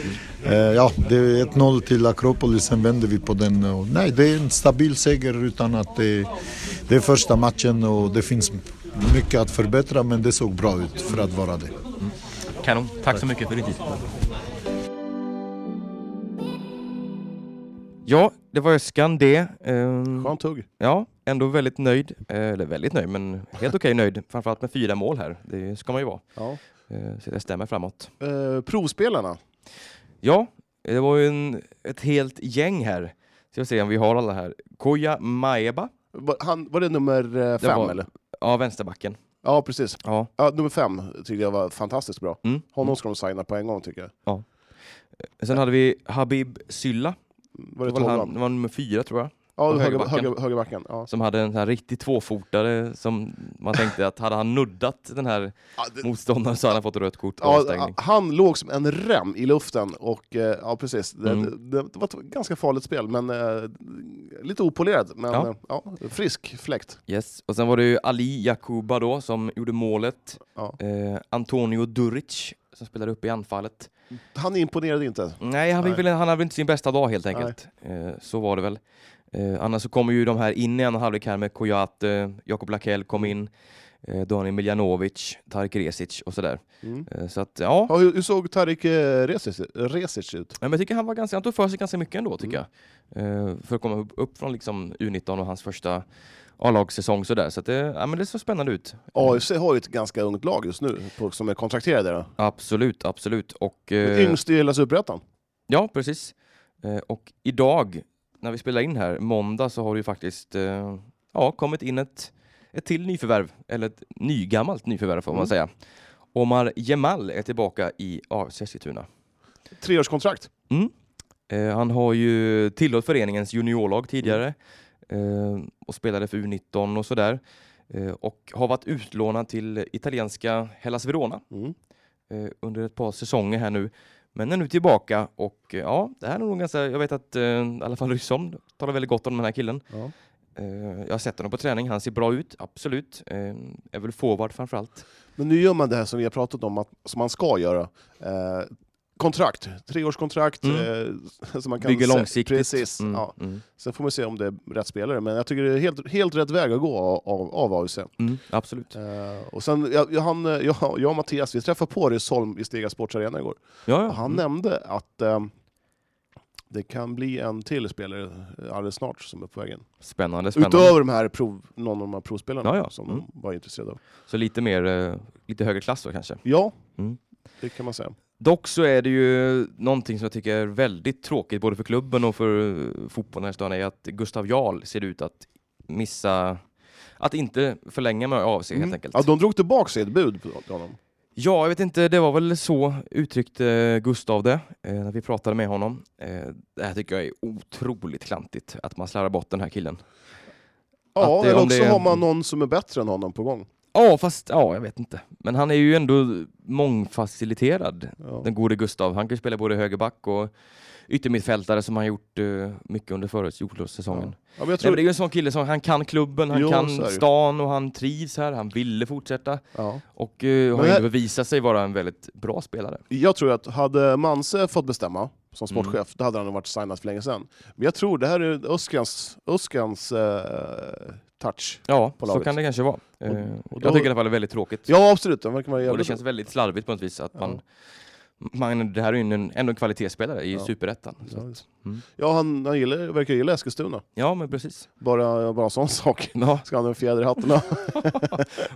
Speaker 7: eh, ja, det är 1-0 till Akropolis, sen vänder vi på den. Och Nej, det är en stabil seger utan att det, det är första matchen och det finns mycket att förbättra men det såg bra ut för att vara det.
Speaker 1: Kanon. Tack så mycket för din tid. Ja, det var Öskan det. Ehm,
Speaker 2: skönt hugg.
Speaker 1: Ja, ändå väldigt nöjd. Eh, Eller väldigt nöjd, men helt okej nöjd. Framförallt med fyra mål här. Det ska man ju vara.
Speaker 2: Ja.
Speaker 1: Eh, Så det stämmer framåt.
Speaker 2: Eh, provspelarna.
Speaker 1: Ja, det var ju en, ett helt gäng här. Ska vi se om vi har alla här. Koja Maeba.
Speaker 2: Var, han, var det nummer eh,
Speaker 1: Det
Speaker 2: fem
Speaker 1: var-
Speaker 2: eller?
Speaker 1: Ja, vänsterbacken.
Speaker 2: Ja, precis.
Speaker 1: Ja.
Speaker 2: Ja, nummer fem tyckte jag var fantastiskt bra.
Speaker 1: Mm.
Speaker 2: Honom ska de signa på en gång tycker jag.
Speaker 1: Sen hade vi Habib Sylla.
Speaker 2: Var
Speaker 1: Det
Speaker 2: det
Speaker 1: var, han,
Speaker 2: tolvan?
Speaker 1: det var nummer fyra tror jag.
Speaker 2: Ja,
Speaker 1: Och
Speaker 2: högerbacken.
Speaker 1: högerbacken.
Speaker 2: Höger, högerbacken ja.
Speaker 1: Som hade en sån här riktig tvåfotare som man tänkte att hade han nuddat den här
Speaker 2: Ja, det-
Speaker 1: motståndaren så hade han fått rött kort och
Speaker 2: Ja,
Speaker 1: avstängning.
Speaker 2: han låg som en rem i luften och eh, ja, precis. Det,
Speaker 1: Mm.
Speaker 2: det, det var ett ganska farligt spel, men eh, lite opolerad. Men
Speaker 1: Ja.
Speaker 2: ja. Ja, frisk fläkt.
Speaker 1: Yes. Och sen var det ju Ali Jakuba då som gjorde målet.
Speaker 2: Ja.
Speaker 1: Eh, Antonio Duric som spelade upp i anfallet.
Speaker 2: Han imponerade inte.
Speaker 1: Nej, han, fick
Speaker 2: Nej.
Speaker 1: Väl, han hade väl inte sin bästa dag helt enkelt. Eh, så var det väl. Eh, annars så kommer ju de här in i en halvlek här med Kojate, Jakob Lakell kom in, eh, Daniel Miljanovic, Tarik Resic och sådär.
Speaker 2: Mm.
Speaker 1: Eh, så att ja,
Speaker 2: Ja, hur, hur såg Tarik eh, Resic, Resic ut?
Speaker 1: Ja, men jag tycker han var ganska, han tog för sig ganska mycket ändå tycker
Speaker 2: Mm.
Speaker 1: jag. Eh, för att komma upp, upp från liksom U19 och hans första A-lagssäsong sådär. Så att det, ja, men det såg spännande ut.
Speaker 2: AFC har ju ett ganska ungt lag just nu på, som är kontrakterade.
Speaker 1: Eh.
Speaker 2: Då.
Speaker 1: Absolut, absolut. Och,
Speaker 2: Eh.
Speaker 1: eh,
Speaker 2: Yngst i hela Superettan.
Speaker 1: ja, precis. Eh, och idag, när vi spelar in här, måndag, så har det ju faktiskt eh, ja, kommit in ett, ett till nyförvärv, eller ett nygammalt nyförvärv får man
Speaker 2: Mm.
Speaker 1: säga. Omar Jemal är tillbaka i AFC Eskilstuna.
Speaker 2: Treårskontrakt.
Speaker 1: Eh, han har ju tillhört föreningens juniorlag tidigare eh, och spelade för U19 och sådär. Eh, och har varit utlånad till italienska Hellas Verona
Speaker 2: Mm.
Speaker 1: eh, under ett par säsonger här nu. Men är nu tillbaka och eh, ja, det här är nog ganska, jag vet att eh, i alla fall Ryssson talar väldigt gott om den här killen.
Speaker 2: Ja.
Speaker 1: Eh, jag har sett honom på träning, han ser bra ut, absolut. Eh, är väl forward framförallt.
Speaker 2: Men nu gör man det här som vi har pratat om, att, som man ska göra. Eh, kontrakt, treårskontrakt.
Speaker 1: Mm.
Speaker 2: Eh, som man kan
Speaker 1: Bygger
Speaker 2: se-
Speaker 1: långsiktigt.
Speaker 2: Precis.
Speaker 1: Mm,
Speaker 2: Ja.
Speaker 1: mm,
Speaker 2: Sen får man se om det är rätt spelare, men jag tycker det är helt, helt rätt väg att gå av, av, av AFC.
Speaker 1: mm, absolut.
Speaker 2: Eh, och sen, jag, jag, han, eh, jag, jag och Mattias, vi träffade på Rysholm i Stega Sports Arena igår.
Speaker 1: Ja, ja.
Speaker 2: Han
Speaker 1: Mm.
Speaker 2: nämnde att eh, det kan bli en till spelare alldeles snart som är på vägen.
Speaker 1: Spännande, spännande.
Speaker 2: Utöver de här prov, någon av de här provspelarna
Speaker 1: Ja, ja.
Speaker 2: som
Speaker 1: Mm.
Speaker 2: de var intresserade av.
Speaker 1: Så lite mer, eh, lite högre klass då kanske.
Speaker 2: Ja,
Speaker 1: Mm.
Speaker 2: det kan man säga.
Speaker 1: Dock så är det ju någonting som jag tycker är väldigt tråkigt både för klubben och för eh, fotbollen här i stan är att Gustav Jarl ser ut att missa, att inte förlänga med AFC helt enkelt.
Speaker 2: Mm. Ja, de drog tillbaka sitt bud på på honom.
Speaker 1: Ja, jag vet inte, det var väl så uttryckte Gustav det eh, när vi pratade med honom. Eh, det här tycker jag är otroligt klantigt, att man slarvar bort den här killen.
Speaker 2: Ja,
Speaker 1: Att det-
Speaker 2: eller
Speaker 1: om
Speaker 2: också
Speaker 1: det-
Speaker 2: har man någon som är bättre än honom på gång.
Speaker 1: Ja, fast ja, jag vet inte. Men han är ju ändå mångfaciliterad,
Speaker 2: Ja.
Speaker 1: den gode Gustav. Han kan ju spela både högerback och yttermittfältare som han gjort eh, mycket under förra fjolårssäsongen.
Speaker 2: Ja, men
Speaker 1: Nej,
Speaker 2: jag
Speaker 1: men
Speaker 2: tror...
Speaker 1: det är ju en sån kille som han kan klubben, han
Speaker 2: Jo, så är
Speaker 1: kan
Speaker 2: det ju.
Speaker 1: stan och han trivs här. Han ville fortsätta
Speaker 2: ja.
Speaker 1: och eh, har
Speaker 2: Men här-
Speaker 1: ändå bevisat sig vara en väldigt bra spelare.
Speaker 2: Jag tror att hade Manse fått bestämma som
Speaker 1: Mm.
Speaker 2: sportchef, då hade han nog varit signad för länge sedan. Men jag tror det här är Öskans, Öskans eh, touch.
Speaker 1: Ja,
Speaker 2: På
Speaker 1: så
Speaker 2: laget.
Speaker 1: kan det kanske vara. Eh,
Speaker 2: och då-
Speaker 1: jag tycker i alla fall det är väldigt tråkigt.
Speaker 2: Ja, absolut. Den verkar
Speaker 1: och
Speaker 2: vara
Speaker 1: det
Speaker 2: jävligt...
Speaker 1: känns väldigt slarvigt på något vis att man, man det här är ju en, ändå en kvalitetsspelare i
Speaker 2: Ja.
Speaker 1: superettan.
Speaker 2: Ja,
Speaker 1: Så.
Speaker 2: visst.
Speaker 1: Mm.
Speaker 2: Ja, han, han gillar, verkar gilla Eskilstuna.
Speaker 1: Ja, men precis.
Speaker 2: Bara, bara en sån sak.
Speaker 1: Ja,
Speaker 2: Ska han ha en fjäder i hatten? Ja.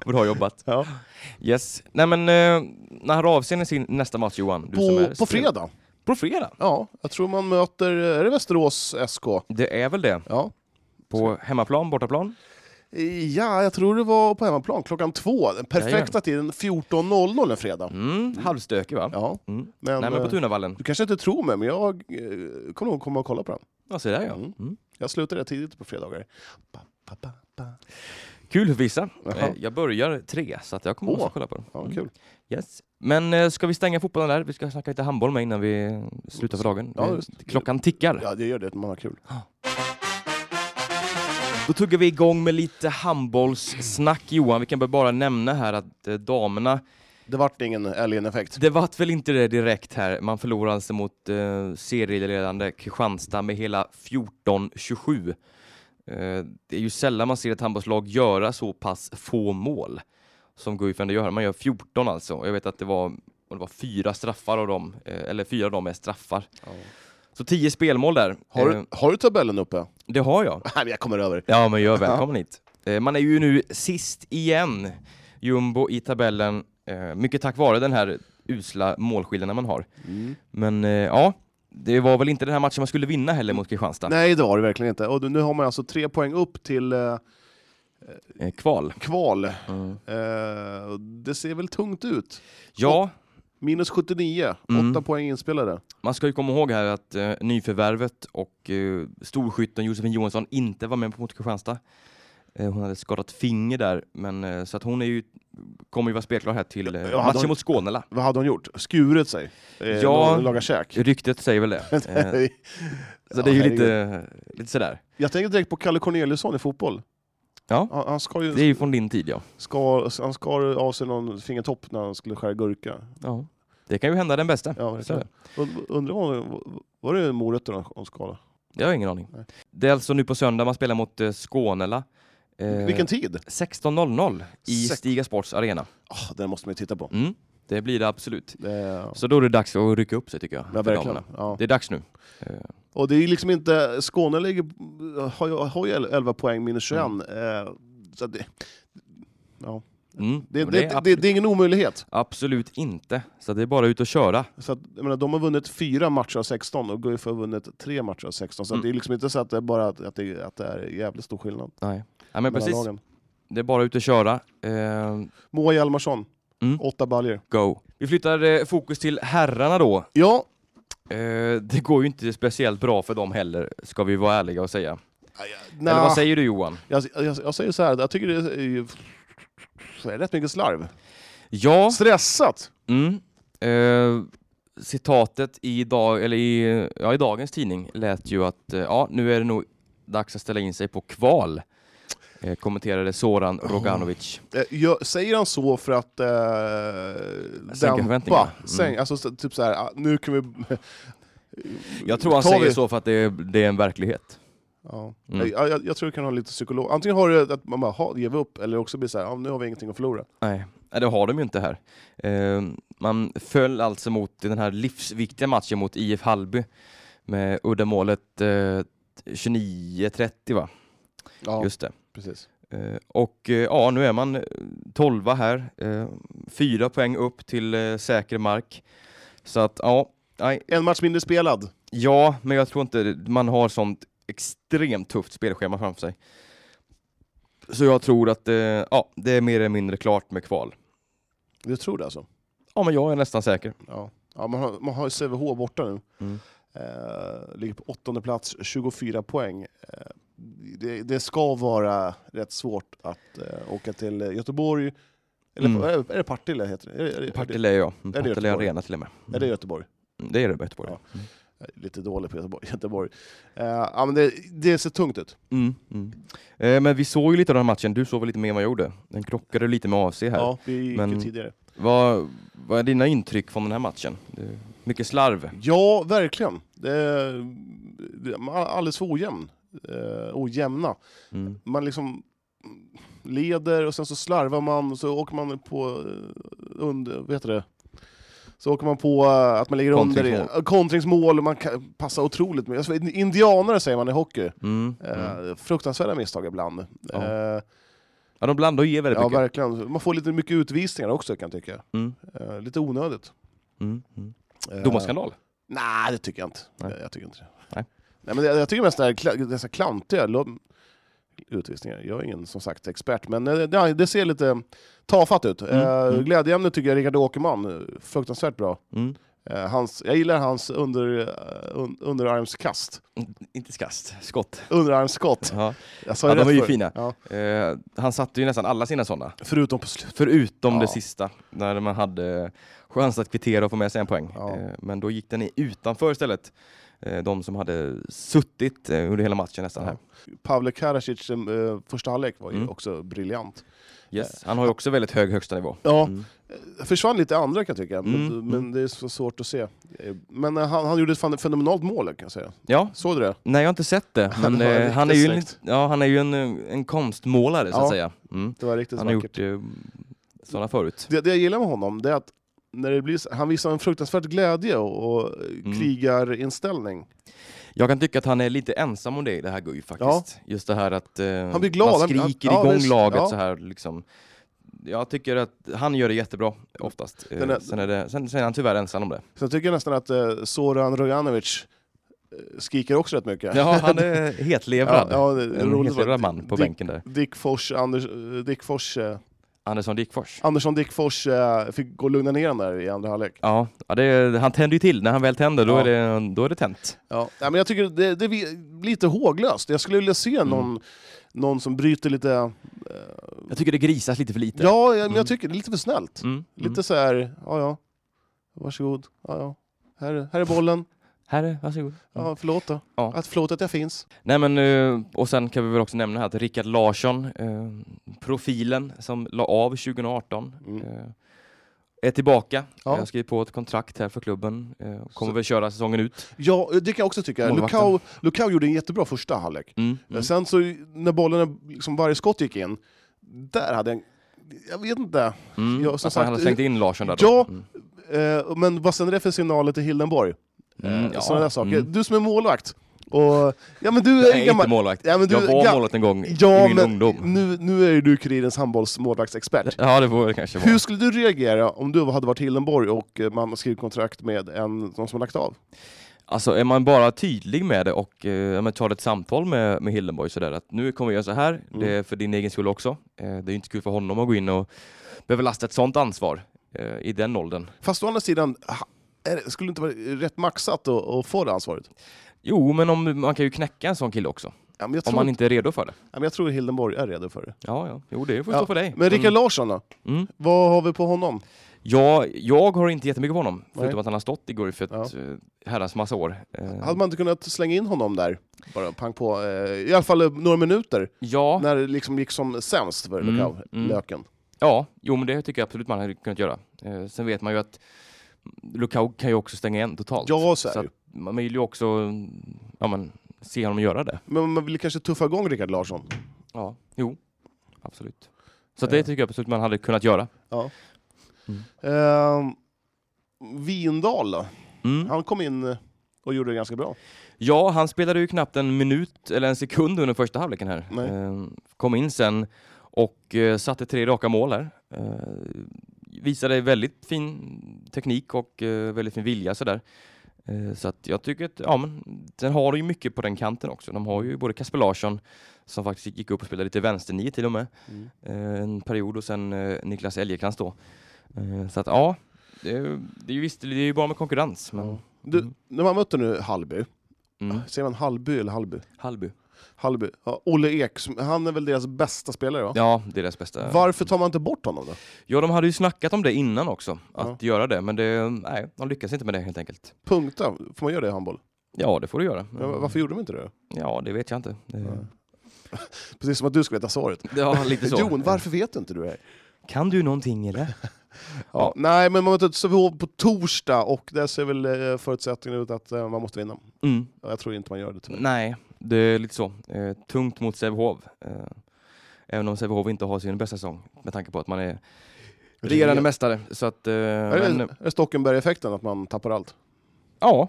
Speaker 1: bra jobbat.
Speaker 2: Ja.
Speaker 1: Yes. Nej men, eh, när har avseende sin nästa match Johan? Du som
Speaker 2: På,
Speaker 1: är
Speaker 2: på fredag.
Speaker 1: På fredag?
Speaker 2: Ja, jag tror man möter... Är det Västerås SK?
Speaker 1: Det är väl det.
Speaker 2: Ja.
Speaker 1: På hemmaplan, bortaplan?
Speaker 2: ja, jag tror det var på hemmaplan klockan två. Den perfekta
Speaker 1: Jajamän.
Speaker 2: tiden, 14.00 en fredag.
Speaker 1: Mm, halvstökig va?
Speaker 2: Ja,
Speaker 1: Mm.
Speaker 2: men,
Speaker 1: Nej men på
Speaker 2: eh,
Speaker 1: Tunavallen.
Speaker 2: Du kanske inte tror mig, men jag eh, kommer nog komma och kolla på den.
Speaker 1: Ja, så där ja.
Speaker 2: Mm.
Speaker 1: Mm.
Speaker 2: Jag slutar rätt tidigt på fredagar. Ba, ba, ba, ba.
Speaker 1: Kul för vissa.
Speaker 2: Jaha.
Speaker 1: Eh, Jag börjar tre, så att jag kommer
Speaker 2: Åh.
Speaker 1: också kolla på den.
Speaker 2: Ja,
Speaker 1: Mm.
Speaker 2: kul.
Speaker 1: Yes. Men eh, ska vi stänga fotbollen där? Vi ska snacka lite handboll med innan vi slutar för dagen.
Speaker 2: Ja,
Speaker 1: Eh,
Speaker 2: just.
Speaker 1: Klockan tickar.
Speaker 2: Ja, det gör det. Man har kul.
Speaker 1: Då tuggar vi igång med lite handbollssnack Johan. Vi kan väl bara nämna här att eh, damerna
Speaker 2: Det vart ingen Alien-effekt.
Speaker 1: Det vart väl inte det direkt här. Man förlorar alltså mot eh, serieledande Kristianstad med hela 14-27. Eh, det är ju sällan man ser ett handbollslag göra så pass få mål som Guif ändå gör. Man gör 14 alltså. Och Jag vet att det var, det var fyra straffar av dem, eh, eller fyra av dem är straffar. Så 10 spelmål där.
Speaker 2: Har,
Speaker 1: Eh,
Speaker 2: du, har du tabellen uppe? Nej,
Speaker 1: det har jag.
Speaker 2: men jag kommer över.
Speaker 1: Ja, men jag är välkommen hit. Eh, Man är ju nu sist igen, jumbo i tabellen, eh, mycket tack vare den här usla målskillnaden man har.
Speaker 2: Mm.
Speaker 1: Men eh, ja, det var väl inte den här matchen man skulle vinna heller mot Kristianstad.
Speaker 2: Nej, det har du verkligen inte. Och nu har man alltså tre poäng upp till eh,
Speaker 1: Eh, Kval. Mm.
Speaker 2: kval. Eh, och det ser väl tungt ut.
Speaker 1: Ja,
Speaker 2: Minus 79, 8
Speaker 1: Mm.
Speaker 2: poäng inspelade.
Speaker 1: Man ska ju komma ihåg här att eh, nyförvärvet och eh, storskytten Josefin Johansson inte var med på mot Kristianstad. Eh, hon hade skadat finger där, men, eh, så att hon är ju, kommer ju vara spelklar här till eh,
Speaker 2: Ja, hade
Speaker 1: matchen
Speaker 2: hon-
Speaker 1: mot Skånela.
Speaker 2: Vad hade hon gjort? Skurit sig? Eh,
Speaker 1: Ja.
Speaker 2: lag- Lagat käk?
Speaker 1: Ryktet säger väl det. Eh, så
Speaker 2: Ja,
Speaker 1: det är ju
Speaker 2: herregud.
Speaker 1: lite, lite sådär.
Speaker 2: Jag tänker direkt på Kalle Corneliusson i fotboll.
Speaker 1: Ja.
Speaker 2: Han, han skar ju
Speaker 1: Det är ju från din tid ja.
Speaker 2: skar, han skar av sig någon fingertopp när han skulle skära gurka.
Speaker 1: ja. Det kan ju hända den bästa.
Speaker 2: Ja,
Speaker 1: Så är det.
Speaker 2: verkligen. Und- Undrar om, var det morötter hon- hon skala?
Speaker 1: Jag har ingen aning.
Speaker 2: Nej.
Speaker 1: Det är alltså nu på söndag man spelar mot eh, Skånela. Eh,
Speaker 2: Vilken tid?
Speaker 1: 16.00 i
Speaker 2: Sex-
Speaker 1: Stiga Sports arena.
Speaker 2: Ah, den måste man ju titta på.
Speaker 1: Mm. Det blir det absolut.
Speaker 2: Eh,
Speaker 1: Så då är det dags att rycka upp sig tycker jag.
Speaker 2: Ja,
Speaker 1: för
Speaker 2: verkligen.
Speaker 1: damerna.
Speaker 2: Ja.
Speaker 1: Det är dags nu.
Speaker 2: Och det är liksom inte... Skåne ligger, har, ju, har ju 11 poäng minus 21. Eh, så att det, ja.
Speaker 1: Mm.
Speaker 2: det,
Speaker 1: Men
Speaker 2: det, det, det, är ingen omöjlighet.
Speaker 1: absolut inte. Så det är bara ut och köra.
Speaker 2: Så att, jag menar, de har vunnit fyra matcher av 16 och Guif har vunnit tre matcher av 16. Så att
Speaker 1: Mm.
Speaker 2: det är liksom inte så att det är bara att, att, det, att det är jävligt stor skillnad
Speaker 1: Nej. Ja, men
Speaker 2: mellan
Speaker 1: precis.
Speaker 2: lagen.
Speaker 1: Det är bara ut och köra. Eh,
Speaker 2: Moa Hjalmarsson,
Speaker 1: Mm.
Speaker 2: åtta baljer.
Speaker 1: go. Vi flyttar eh, fokus till herrarna då.
Speaker 2: Ja,
Speaker 1: Eh, det går ju inte speciellt bra för dem heller, ska vi vara ärliga och säga.
Speaker 2: nej,
Speaker 1: Eller vad säger du Johan?
Speaker 2: jag, jag, jag säger så här, jag tycker det är, det är rätt mycket slarv.
Speaker 1: Ja,
Speaker 2: Stressat!
Speaker 1: Mm. Eh, citatet i, dag, eller i, ja, i dagens tidning lät ju att eh, ja, nu är det nog dags att ställa in sig på kval. Eh, kommenterade Soran Roganovic.
Speaker 2: Eh, Jag, säger han så för att eh,
Speaker 1: förväntningarna.
Speaker 2: dämpa?
Speaker 1: Mm.
Speaker 2: Sänk, alltså, så- typ så här, ah, nu kan vi...
Speaker 1: Jag tror han
Speaker 2: Tar
Speaker 1: säger
Speaker 2: vi-
Speaker 1: så för att det är, det är en verklighet.
Speaker 2: Ja.
Speaker 1: Mm.
Speaker 2: Jag, jag, jag tror det kan ha lite psykolog... Antingen har det att man bara ha, ger vi upp, eller också blir det så här, ah, nu har vi ingenting att förlora.
Speaker 1: Nej, Nej, det har de ju inte här. Eh, man föll alltså mot den här livsviktiga matchen mot IF Hallby med uddamålet eh, 29-30 va?
Speaker 2: Ja,
Speaker 1: Just det.
Speaker 2: precis.
Speaker 1: Eh, Och eh, ja, nu är man eh, 12 här. eh, Fyra poäng upp till eh, säker mark. Så att ja, nej,
Speaker 2: En match mindre spelad.
Speaker 1: ja, men jag tror inte man har sånt extremt tufft spelschema framför sig. Så jag tror att eh, ja, det är mer eller mindre klart med kval.
Speaker 2: Du tror det alltså?
Speaker 1: Ja, men jag är nästan säker.
Speaker 2: Ja. ja man, har, man har ju Sävehof borta nu.
Speaker 1: Mm.
Speaker 2: Eh, ligger på åttonde plats, 24 poäng. Eh, det, det ska vara rätt svårt att eh, åka till eh, Göteborg, eller
Speaker 1: Mm.
Speaker 2: är, det- är det Partille? Heter det? Är, det- är, det-
Speaker 1: Partille är jag. Mm,
Speaker 2: är det
Speaker 1: Partille
Speaker 2: Göteborg?
Speaker 1: Arena till och med.
Speaker 2: Är det Göteborg?
Speaker 1: Mm, Det är det Göteborg.
Speaker 2: Ja. Jag är Lite dålig på Göteborg. Göteborg. Eh, ja, men det, det ser tungt ut.
Speaker 1: Mm, mm. Eh, Men vi såg ju lite av den här matchen. Du såg väl lite mer än vad jag gjorde? Den krockade lite med AFC här.
Speaker 2: Ja, vi gick
Speaker 1: Men-
Speaker 2: ju tidigare.
Speaker 1: Vad, vad är dina intryck från den här matchen? Det är Mycket slarv.
Speaker 2: Ja, verkligen. Det, det, man är alldeles för ojämn. Eh, ojämna.
Speaker 1: Mm.
Speaker 2: man liksom leder och sen så slarvar man och så åker man på eh, under, vad heter det? Så åker man på eh, att man ligger under i
Speaker 1: Kontringsmål.
Speaker 2: eh, kontringsmål och man kan passa otroligt mycket. Alltså, indianare säger man i hockey.
Speaker 1: Mm.
Speaker 2: Eh,
Speaker 1: Mm.
Speaker 2: Fruktansvärda misstag ibland.
Speaker 1: Ja.
Speaker 2: Eh,
Speaker 1: Ja, de blandar och ger väldigt
Speaker 2: ja,
Speaker 1: mycket.
Speaker 2: verkligen. Man får lite mycket utvisningar också kan jag tycka.
Speaker 1: Mm.
Speaker 2: Eh, lite onödigt.
Speaker 1: Mm. Mm.
Speaker 2: Eh,
Speaker 1: Domarskandal.
Speaker 2: Nej, det tycker jag inte.
Speaker 1: Nej.
Speaker 2: Jag, jag tycker inte det.
Speaker 1: Nej.
Speaker 2: Nej, men jag, jag tycker mest det här kla- dessa klantiga lo- utvisningar. Jag är ingen som sagt expert, men eh, det, det ser lite tafatt ut.
Speaker 1: Mm,
Speaker 2: Eh,
Speaker 1: mm.
Speaker 2: Glädjeämne tycker jag Rickard Åkerman, eh, fruktansvärt bra.
Speaker 1: Mm.
Speaker 2: Eh, hans, jag gillar hans under, eh, un, underarmskast,
Speaker 1: Inte skast, skott.
Speaker 2: underarmsskott.
Speaker 1: Ja.
Speaker 2: Jag sa
Speaker 1: Ja, de
Speaker 2: rätt
Speaker 1: var ju
Speaker 2: förut.
Speaker 1: fina.
Speaker 2: Ja,
Speaker 1: Eh, han satte ju nästan alla sina sådana.
Speaker 2: förutom på slutet.
Speaker 1: Förutom
Speaker 2: Ja.
Speaker 1: det sista, när man hade chans att kvittera och få med sig en poäng.
Speaker 2: Ja.
Speaker 1: Eh, men då gick den i utanför istället. Eh, de som hade suttit eh, under hela matchen nästan här.
Speaker 2: Pavle Karacic, eh, första halvlek var ju
Speaker 1: Mm.
Speaker 2: också briljant.
Speaker 1: Yes. Han har ju också väldigt hög högsta nivå.
Speaker 2: Ja, Eh,
Speaker 1: Mm.
Speaker 2: försvann lite i andra kan jag tycka,
Speaker 1: Mm,
Speaker 2: men, men det är så svårt att se. Eh, Men eh, han, han gjorde ett fan- fenomenalt mål kan jag säga.
Speaker 1: Ja,
Speaker 2: Såg du det?
Speaker 1: Nej, jag har inte sett det.
Speaker 2: Ja,
Speaker 1: Men
Speaker 2: det var
Speaker 1: eh,
Speaker 2: riktigt
Speaker 1: han, är ju en,
Speaker 2: snyggt.
Speaker 1: ja, han är ju en, eh, en konstmålare, så att
Speaker 2: Ja.
Speaker 1: säga. Mm.
Speaker 2: Det var riktigt
Speaker 1: Han har
Speaker 2: vackert.
Speaker 1: gjort eh, sådana förut.
Speaker 2: Det, det jag gillar med honom det är att när det blir, så- han visar en fruktansvärd glädje och, och eh,
Speaker 1: Mm.
Speaker 2: krigarinställning.
Speaker 1: Jag kan tycka att han är lite ensam om det i det här Guif faktiskt. Just det här att eh,
Speaker 2: Han blir glad,
Speaker 1: man
Speaker 2: han- han-
Speaker 1: skriker
Speaker 2: ja,
Speaker 1: igång
Speaker 2: visst,
Speaker 1: laget
Speaker 2: ja.
Speaker 1: så här. Liksom. Jag tycker att han gör det jättebra oftast. Eh,
Speaker 2: Den är-
Speaker 1: sen, är det, sen, sen är han tyvärr ensam om det.
Speaker 2: Sen tycker jag nästan att eh, Zoran Rojanovic eh, skriker också rätt mycket.
Speaker 1: Ja, han är hetlevrad.
Speaker 2: Ja, ja, det är
Speaker 1: en
Speaker 2: roligt
Speaker 1: hetlevrad
Speaker 2: att-
Speaker 1: man på
Speaker 2: Dick-
Speaker 1: bänken där.
Speaker 2: Dick Fors, Anders, eh, Dick Fors eh,
Speaker 1: Andersson Dickfors.
Speaker 2: Andersson Dickfors eh, fick gå och lugna ner den där i andra halvlek.
Speaker 1: Ja, ja det, han tänder ju till. När han väl tänder, då,
Speaker 2: Ja.
Speaker 1: är, det, då är det tänt.
Speaker 2: Ja. Nej, men jag tycker det, det är lite håglöst. Jag skulle vilja
Speaker 1: Mm.
Speaker 2: se någon, någon som bryter lite...
Speaker 1: Jag tycker det grisas lite för lite.
Speaker 2: Ja, jag, men jag tycker det är lite för snällt.
Speaker 1: Mm, mm.
Speaker 2: Lite så här, ja ja, varsågod, ja ja, här, är- här är bollen,
Speaker 1: Här är, varsågod.
Speaker 2: ja förlåt då.
Speaker 1: Mm. Ja.
Speaker 2: Att, förlåt att jag finns.
Speaker 1: Nej men, eh, och sen kan vi väl också nämna här att Rickard Larsson, eh, profilen som la av 2018,
Speaker 2: Mm.
Speaker 1: eh, är tillbaka.
Speaker 2: Ja.
Speaker 1: Jag har skrivit på ett kontrakt här för klubben. Eh, och kommer
Speaker 2: Så-
Speaker 1: väl köra säsongen ut.
Speaker 2: Ja, det kan jag också tycka.
Speaker 1: Målvakten.
Speaker 2: Lukau, Lukau gjorde en jättebra första halvlek.
Speaker 1: Mm. Mm.
Speaker 2: Sen så när bollen, liksom varje skott gick in, där hade jag en, jag vet inte.
Speaker 1: Mm.
Speaker 2: Ja, som
Speaker 1: Att han
Speaker 2: sagt,
Speaker 1: hade slängt in Larsson där
Speaker 2: ja,
Speaker 1: då. Mm.
Speaker 2: Eh, men vad sänder det för signaler till Hildenborg?
Speaker 1: Mm,
Speaker 2: eh,
Speaker 1: ja.
Speaker 2: Sådana där saker.
Speaker 1: Mm.
Speaker 2: Du som är målvakt, och, ja men du är
Speaker 1: Jag
Speaker 2: ju
Speaker 1: är inte
Speaker 2: gammal...
Speaker 1: målvakt.
Speaker 2: Ja, men du,
Speaker 1: jag var
Speaker 2: ga-
Speaker 1: målvakt en gång i
Speaker 2: Ja,
Speaker 1: min
Speaker 2: men
Speaker 1: ungdom.
Speaker 2: nu, nu är ju du Kurirens handbollsmålvaktsexpert.
Speaker 1: Ja, det får det kanske vara.
Speaker 2: Hur skulle du reagera om du hade varit Hildenborg och eh, man har skrivit kontrakt med en, någon som har lagt av?
Speaker 1: Alltså är man bara tydlig med det och eh, ja, men tar ett samtal med, med Hildenborg sådär att nu kommer vi göra så här,
Speaker 2: Mm.
Speaker 1: det är för din egen skull också. Eh, det är ju inte kul för honom att gå in och behöva lasta ett sånt ansvar eh, i den åldern.
Speaker 2: Fast å andra sidan, ha- är det, skulle det inte vara rätt maxat att, att få det ansvaret?
Speaker 1: Jo, men om, man kan ju knäcka en sån kille också,
Speaker 2: Ja, men jag,
Speaker 1: om
Speaker 2: tror,
Speaker 1: man inte är redo för det.
Speaker 2: ja, men jag tror Hildenborg är redo för det.
Speaker 1: Ja, ja. Jo, det får
Speaker 2: Ja,
Speaker 1: stå för dig.
Speaker 2: Men Rickard Larsson då?
Speaker 1: Mm.
Speaker 2: Vad har vi på honom?
Speaker 1: ja, jag har inte jättemycket på honom, förutom
Speaker 2: Nej.
Speaker 1: att han har stått i Guif ett
Speaker 2: Ja.
Speaker 1: eh, herrans massa år. Eh,
Speaker 2: Hade man inte kunnat slänga in honom där? Bara pang på, eh, i alla fall eh, några minuter,
Speaker 1: ja,
Speaker 2: när det liksom gick som sämst för
Speaker 1: Mm,
Speaker 2: Lukau,
Speaker 1: mm.
Speaker 2: Löken.
Speaker 1: Ja, jo men det tycker jag absolut man hade kunnat göra. Eh, sen vet man ju att Lukau kan ju också stänga igen totalt.
Speaker 2: Ja, så är det ju.
Speaker 1: att man vill ju också mm, ja, men, se honom göra det.
Speaker 2: Men man vill kanske tuffa igång Rickard Larsson.
Speaker 1: Ja, jo, Eh. absolut. Så det tycker jag absolut man hade kunnat göra.
Speaker 2: Ehm, Vindal då?
Speaker 1: Mm.
Speaker 2: Han kom in eh, och gjorde det ganska bra.
Speaker 1: Ja, han spelade ju knappt en minut eller en sekund under första halvleken här.
Speaker 2: Nej.
Speaker 1: Eh, kom in sen och eh, satte tre raka mål här. Eh, visade väldigt fin teknik och eh, väldigt fin vilja sådär. Eh, så att jag tycker att, ja men, den har ju mycket på den kanten också. De har ju både Kasper Larsson, som faktiskt gick upp och spelade lite vänsternio till och med, eh, en period och sen eh, Niklas Elgekrans då. Eh, så att ja, det, är- det är ju visst, det är ju bara med konkurrens. Men,
Speaker 2: Du,
Speaker 1: Mm.
Speaker 2: När man mötte nu Hallby,
Speaker 1: mm.
Speaker 2: säger man Hallby eller Hallby?
Speaker 1: Hallby.
Speaker 2: Hallby. Ja, Olle Ek, som- han är väl deras bästa spelare va?
Speaker 1: Ja, det är deras bästa.
Speaker 2: Varför tar man inte bort honom då?
Speaker 1: Ja, de hade ju snackat om det innan också,
Speaker 2: Ja.
Speaker 1: att göra det, men det, nej, de lyckas inte med det helt enkelt.
Speaker 2: Punkta, får man göra det i handboll?
Speaker 1: Ja, det får du göra.
Speaker 2: Ja, Varför gjorde de inte det?
Speaker 1: Ja, det vet jag inte. Det,
Speaker 2: Precis som att du ska veta svaret.
Speaker 1: ja, lite så.
Speaker 2: Jon, varför vet inte du det?
Speaker 1: Kan du någonting eller?
Speaker 2: Ja. Nej, men man möter Sävehof på torsdag och där ser väl eh, förutsättningen ut att eh, man måste vinna.
Speaker 1: Mm.
Speaker 2: Ja, Jag tror inte man gör det tyvärr.
Speaker 1: Nej, det är lite så. Eh, tungt mot Sävehof. Eh, även om Sävehof inte har sin bästa säsong, med tanke på att man är regerande mästare. Så att, eh,
Speaker 2: Är det,
Speaker 1: men,
Speaker 2: är det Stockenberg-effekten, att man tappar allt?
Speaker 1: ja,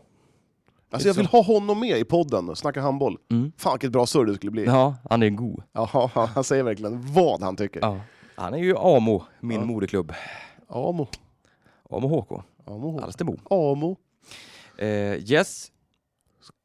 Speaker 2: Alltså jag vill ha honom med i podden och snacka handboll.
Speaker 1: Mm.
Speaker 2: Fan vilket bra surr det skulle bli.
Speaker 1: ja, han är god.
Speaker 2: Jaha, han säger verkligen vad han tycker.
Speaker 1: Ja. Han är ju AMO, min
Speaker 2: Ja.
Speaker 1: moderklubb.
Speaker 2: Amo.
Speaker 1: AMO HK,
Speaker 2: Amo.
Speaker 1: Alstermo.
Speaker 2: Amo.
Speaker 1: Eh, yes,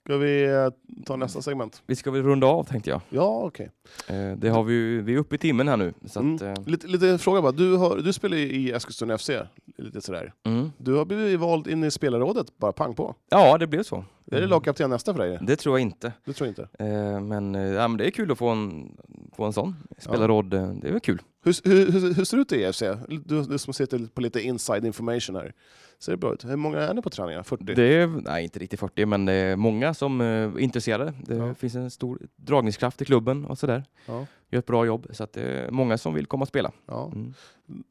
Speaker 2: Ska vi eh, ta nästa segment?
Speaker 1: vi ska väl runda av tänkte jag.
Speaker 2: Ja, okej.
Speaker 1: Eh, det har vi, ju- vi är uppe i timmen här nu. Så
Speaker 2: Mm.
Speaker 1: att, eh,
Speaker 2: Lite, lite fråga bara. Du, har, du spelar ju i Eskilstuna FC. Lite sådär.
Speaker 1: mm.
Speaker 2: Du har blivit vald in i spelarrådet, bara pang på.
Speaker 1: Ja, det blev så.
Speaker 2: Är det lagkapten nästa för dig?
Speaker 1: Det tror jag inte.
Speaker 2: Du tror inte?
Speaker 1: Eh, men, eh, ja, men det är kul att få en, få en sån spelarråd. eh, Det är väl kul.
Speaker 2: Hur, hur, hur, hur ser det ut i EFC? Du, du som sitter på lite inside information här. Ser det bra ut? Hur många är ni på träningar? 40?
Speaker 1: Det är, nej, inte riktigt 40, men det är många som eh, är intresserade. Det
Speaker 2: Ja.
Speaker 1: finns en stor dragningskraft i klubben och sådär.
Speaker 2: Ja.
Speaker 1: Gör ett bra jobb, så att det är många som vill komma och spela.
Speaker 2: Ja.
Speaker 1: Mm.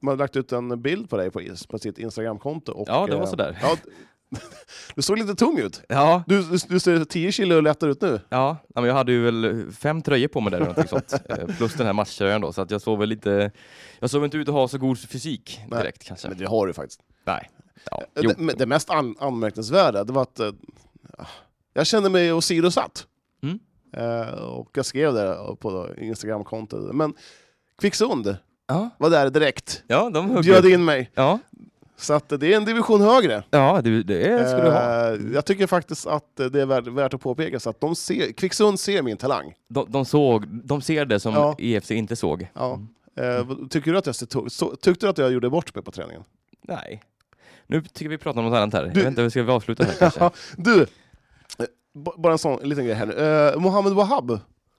Speaker 2: Man har lagt ut en bild på dig på, is- på sitt Instagramkonto. Och,
Speaker 1: Ja, det var
Speaker 2: eh,
Speaker 1: sådär.
Speaker 2: Ja, du såg lite tung ut.
Speaker 1: Ja,
Speaker 2: Du, du, du ser 10 kilo lättare ut nu.
Speaker 1: ja ja, men jag hade ju väl fem tröjor på mig där eller någonting sånt. Eh, Plus den här matchtröjan då, så att jag såg väl lite... Jag såg inte ut att ha så god fysik
Speaker 2: Nej.
Speaker 1: direkt kanske.
Speaker 2: Men det har du faktiskt. Eh,
Speaker 1: nej. Ja, jo.
Speaker 2: Det, men det mest an, anmärkningsvärda det var att eh, jag kände mig åsidosatt.
Speaker 1: Mm.
Speaker 2: Eh, och jag skrev det på Instagramkontot. Men Kvicksund
Speaker 1: Ja.
Speaker 2: var där direkt.
Speaker 1: Ja, de högg
Speaker 2: Bjöd
Speaker 1: upp.
Speaker 2: in mig.
Speaker 1: Ja,
Speaker 2: Så att det är en division högre.
Speaker 1: ja det, det skulle du ha.
Speaker 2: Eh, Jag tycker faktiskt att det är värt, värt att påpeka så att de ser, Kvicksund ser min talang.
Speaker 1: De, de, såg, de ser det som
Speaker 2: Ja.
Speaker 1: EFC inte såg.
Speaker 2: Ja. Eh, vad- tycker du att jag ser to- så, tyckte du att jag gjorde bort mig på träningen?
Speaker 1: Nej. Nu tycker vi pratar om något annat här.
Speaker 2: Du-
Speaker 1: Jag vet inte, ska vi avsluta här kanske?
Speaker 2: Ja, du, eh, b- bara en sån liten grej här nu. Eh, Mohammed Wahab,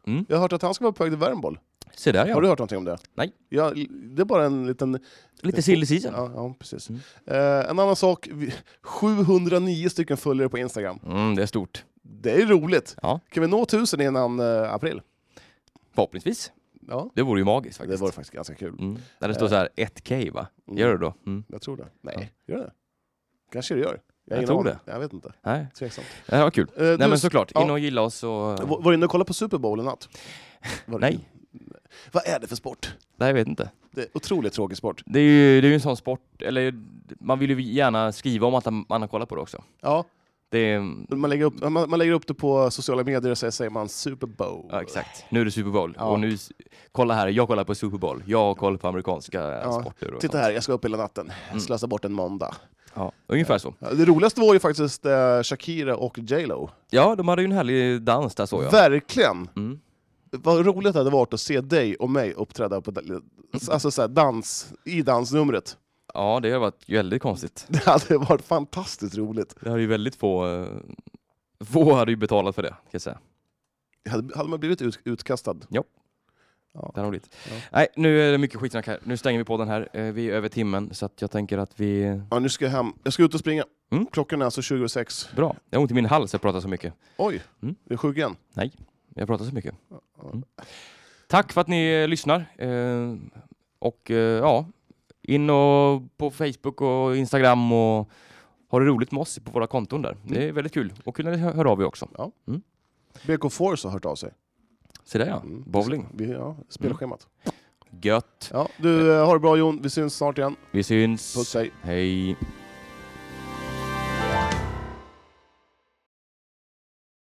Speaker 1: Mm.
Speaker 2: jag har hört att han ska vara på väg till Värmboll.
Speaker 1: Se där
Speaker 2: Har
Speaker 1: ja.
Speaker 2: du hört någonting om det?
Speaker 1: Nej.
Speaker 2: Ja, det är bara en liten...
Speaker 1: Lite sill i season.
Speaker 2: Ja, ja precis.
Speaker 1: Mm.
Speaker 2: Eh, en annan sak, vi- 709 stycken följare på Instagram.
Speaker 1: Mm, det är stort.
Speaker 2: Det är roligt!
Speaker 1: Ja.
Speaker 2: Kan vi nå 1000 innan eh, april?
Speaker 1: Förhoppningsvis.
Speaker 2: Ja,
Speaker 1: Det vore ju magiskt
Speaker 2: det
Speaker 1: faktiskt.
Speaker 2: vore Eh. faktiskt ganska kul.
Speaker 1: Mm. Där det står så här 1K va? Gör det då? Mm.
Speaker 2: Jag tror det. Nej, gör det? Kanske det gör. Jag, har
Speaker 1: Jag
Speaker 2: ingen
Speaker 1: tror
Speaker 2: aning. Jag vet inte.
Speaker 1: Nej,
Speaker 2: Tveksamt.
Speaker 1: det här var kul.
Speaker 2: Eh, du-
Speaker 1: Nej men såklart,
Speaker 2: ja.
Speaker 1: in och gilla oss och...
Speaker 2: Var var du inne och kollade på Super Bowl i natt? Var du-
Speaker 1: Nej.
Speaker 2: Vad är det för sport?
Speaker 1: Nej jag vet inte.
Speaker 2: Det är otroligt tråkig sport.
Speaker 1: Det är ju, det är ju en sån sport, eller man vill ju gärna skriva om att man har kollat på det också.
Speaker 2: Ja,
Speaker 1: Det är,
Speaker 2: man lägger upp, man, man lägger upp det på sociala medier och så säger man Super Bowl.
Speaker 1: ja, exakt. Nu är det Super Bowl.
Speaker 2: Ja.
Speaker 1: Och nu, s- kolla här, jag kollar på Super Bowl. Jag har koll på amerikanska
Speaker 2: Ja,
Speaker 1: sporter och
Speaker 2: Titta
Speaker 1: sånt.
Speaker 2: här, jag ska upp hela natten.
Speaker 1: Mm.
Speaker 2: Slösa bort en måndag.
Speaker 1: Ja, ungefär så.
Speaker 2: Ja, Det roligaste var ju faktiskt eh, Shakira och J.Lo.
Speaker 1: Ja, de hade ju en härlig dans där såg jag.
Speaker 2: Verkligen!
Speaker 1: Mm.
Speaker 2: Vad roligt det hade varit att se dig och mig uppträda på, alltså, så här, dans, i dansnumret.
Speaker 1: Ja, det har varit väldigt konstigt.
Speaker 2: Det hade varit fantastiskt roligt.
Speaker 1: Det hade ju väldigt få... eh, Få hade ju betalat för det, kan jag säga.
Speaker 2: Hade, hade man blivit ut, utkastad?
Speaker 1: Det hade de blivit.
Speaker 2: Ja.
Speaker 1: Nej, nu är det mycket skitsnack här. Nu stänger vi på den här. Eh, Vi är över timmen, så att jag tänker att vi...
Speaker 2: Ja, nu ska jag hem. Jag ska ut och springa.
Speaker 1: Mm.
Speaker 2: Klockan är alltså 26.
Speaker 1: Bra. Jag har ont i min hals, jag pratar så mycket.
Speaker 2: Oj,
Speaker 1: Mm.
Speaker 2: är du sjuk igen?
Speaker 1: Jag pratar så mycket. Mm. Tack för att ni eh, lyssnar. Eh, Och eh, ja, in och på Facebook och Instagram och ha det roligt med oss på våra konton där.
Speaker 2: Mm.
Speaker 1: Det är väldigt kul. Och kul när ni hör hör av er också.
Speaker 2: BK Force har hört av sig.
Speaker 1: Se där ja,
Speaker 2: Mm.
Speaker 1: bowling. Mm.
Speaker 2: Vi, ja, spelschemat.
Speaker 1: Gött.
Speaker 2: Ja, du, eh, ha det bra Jon. Vi syns snart igen.
Speaker 1: Vi syns.
Speaker 2: Puss, hej.
Speaker 1: Hej.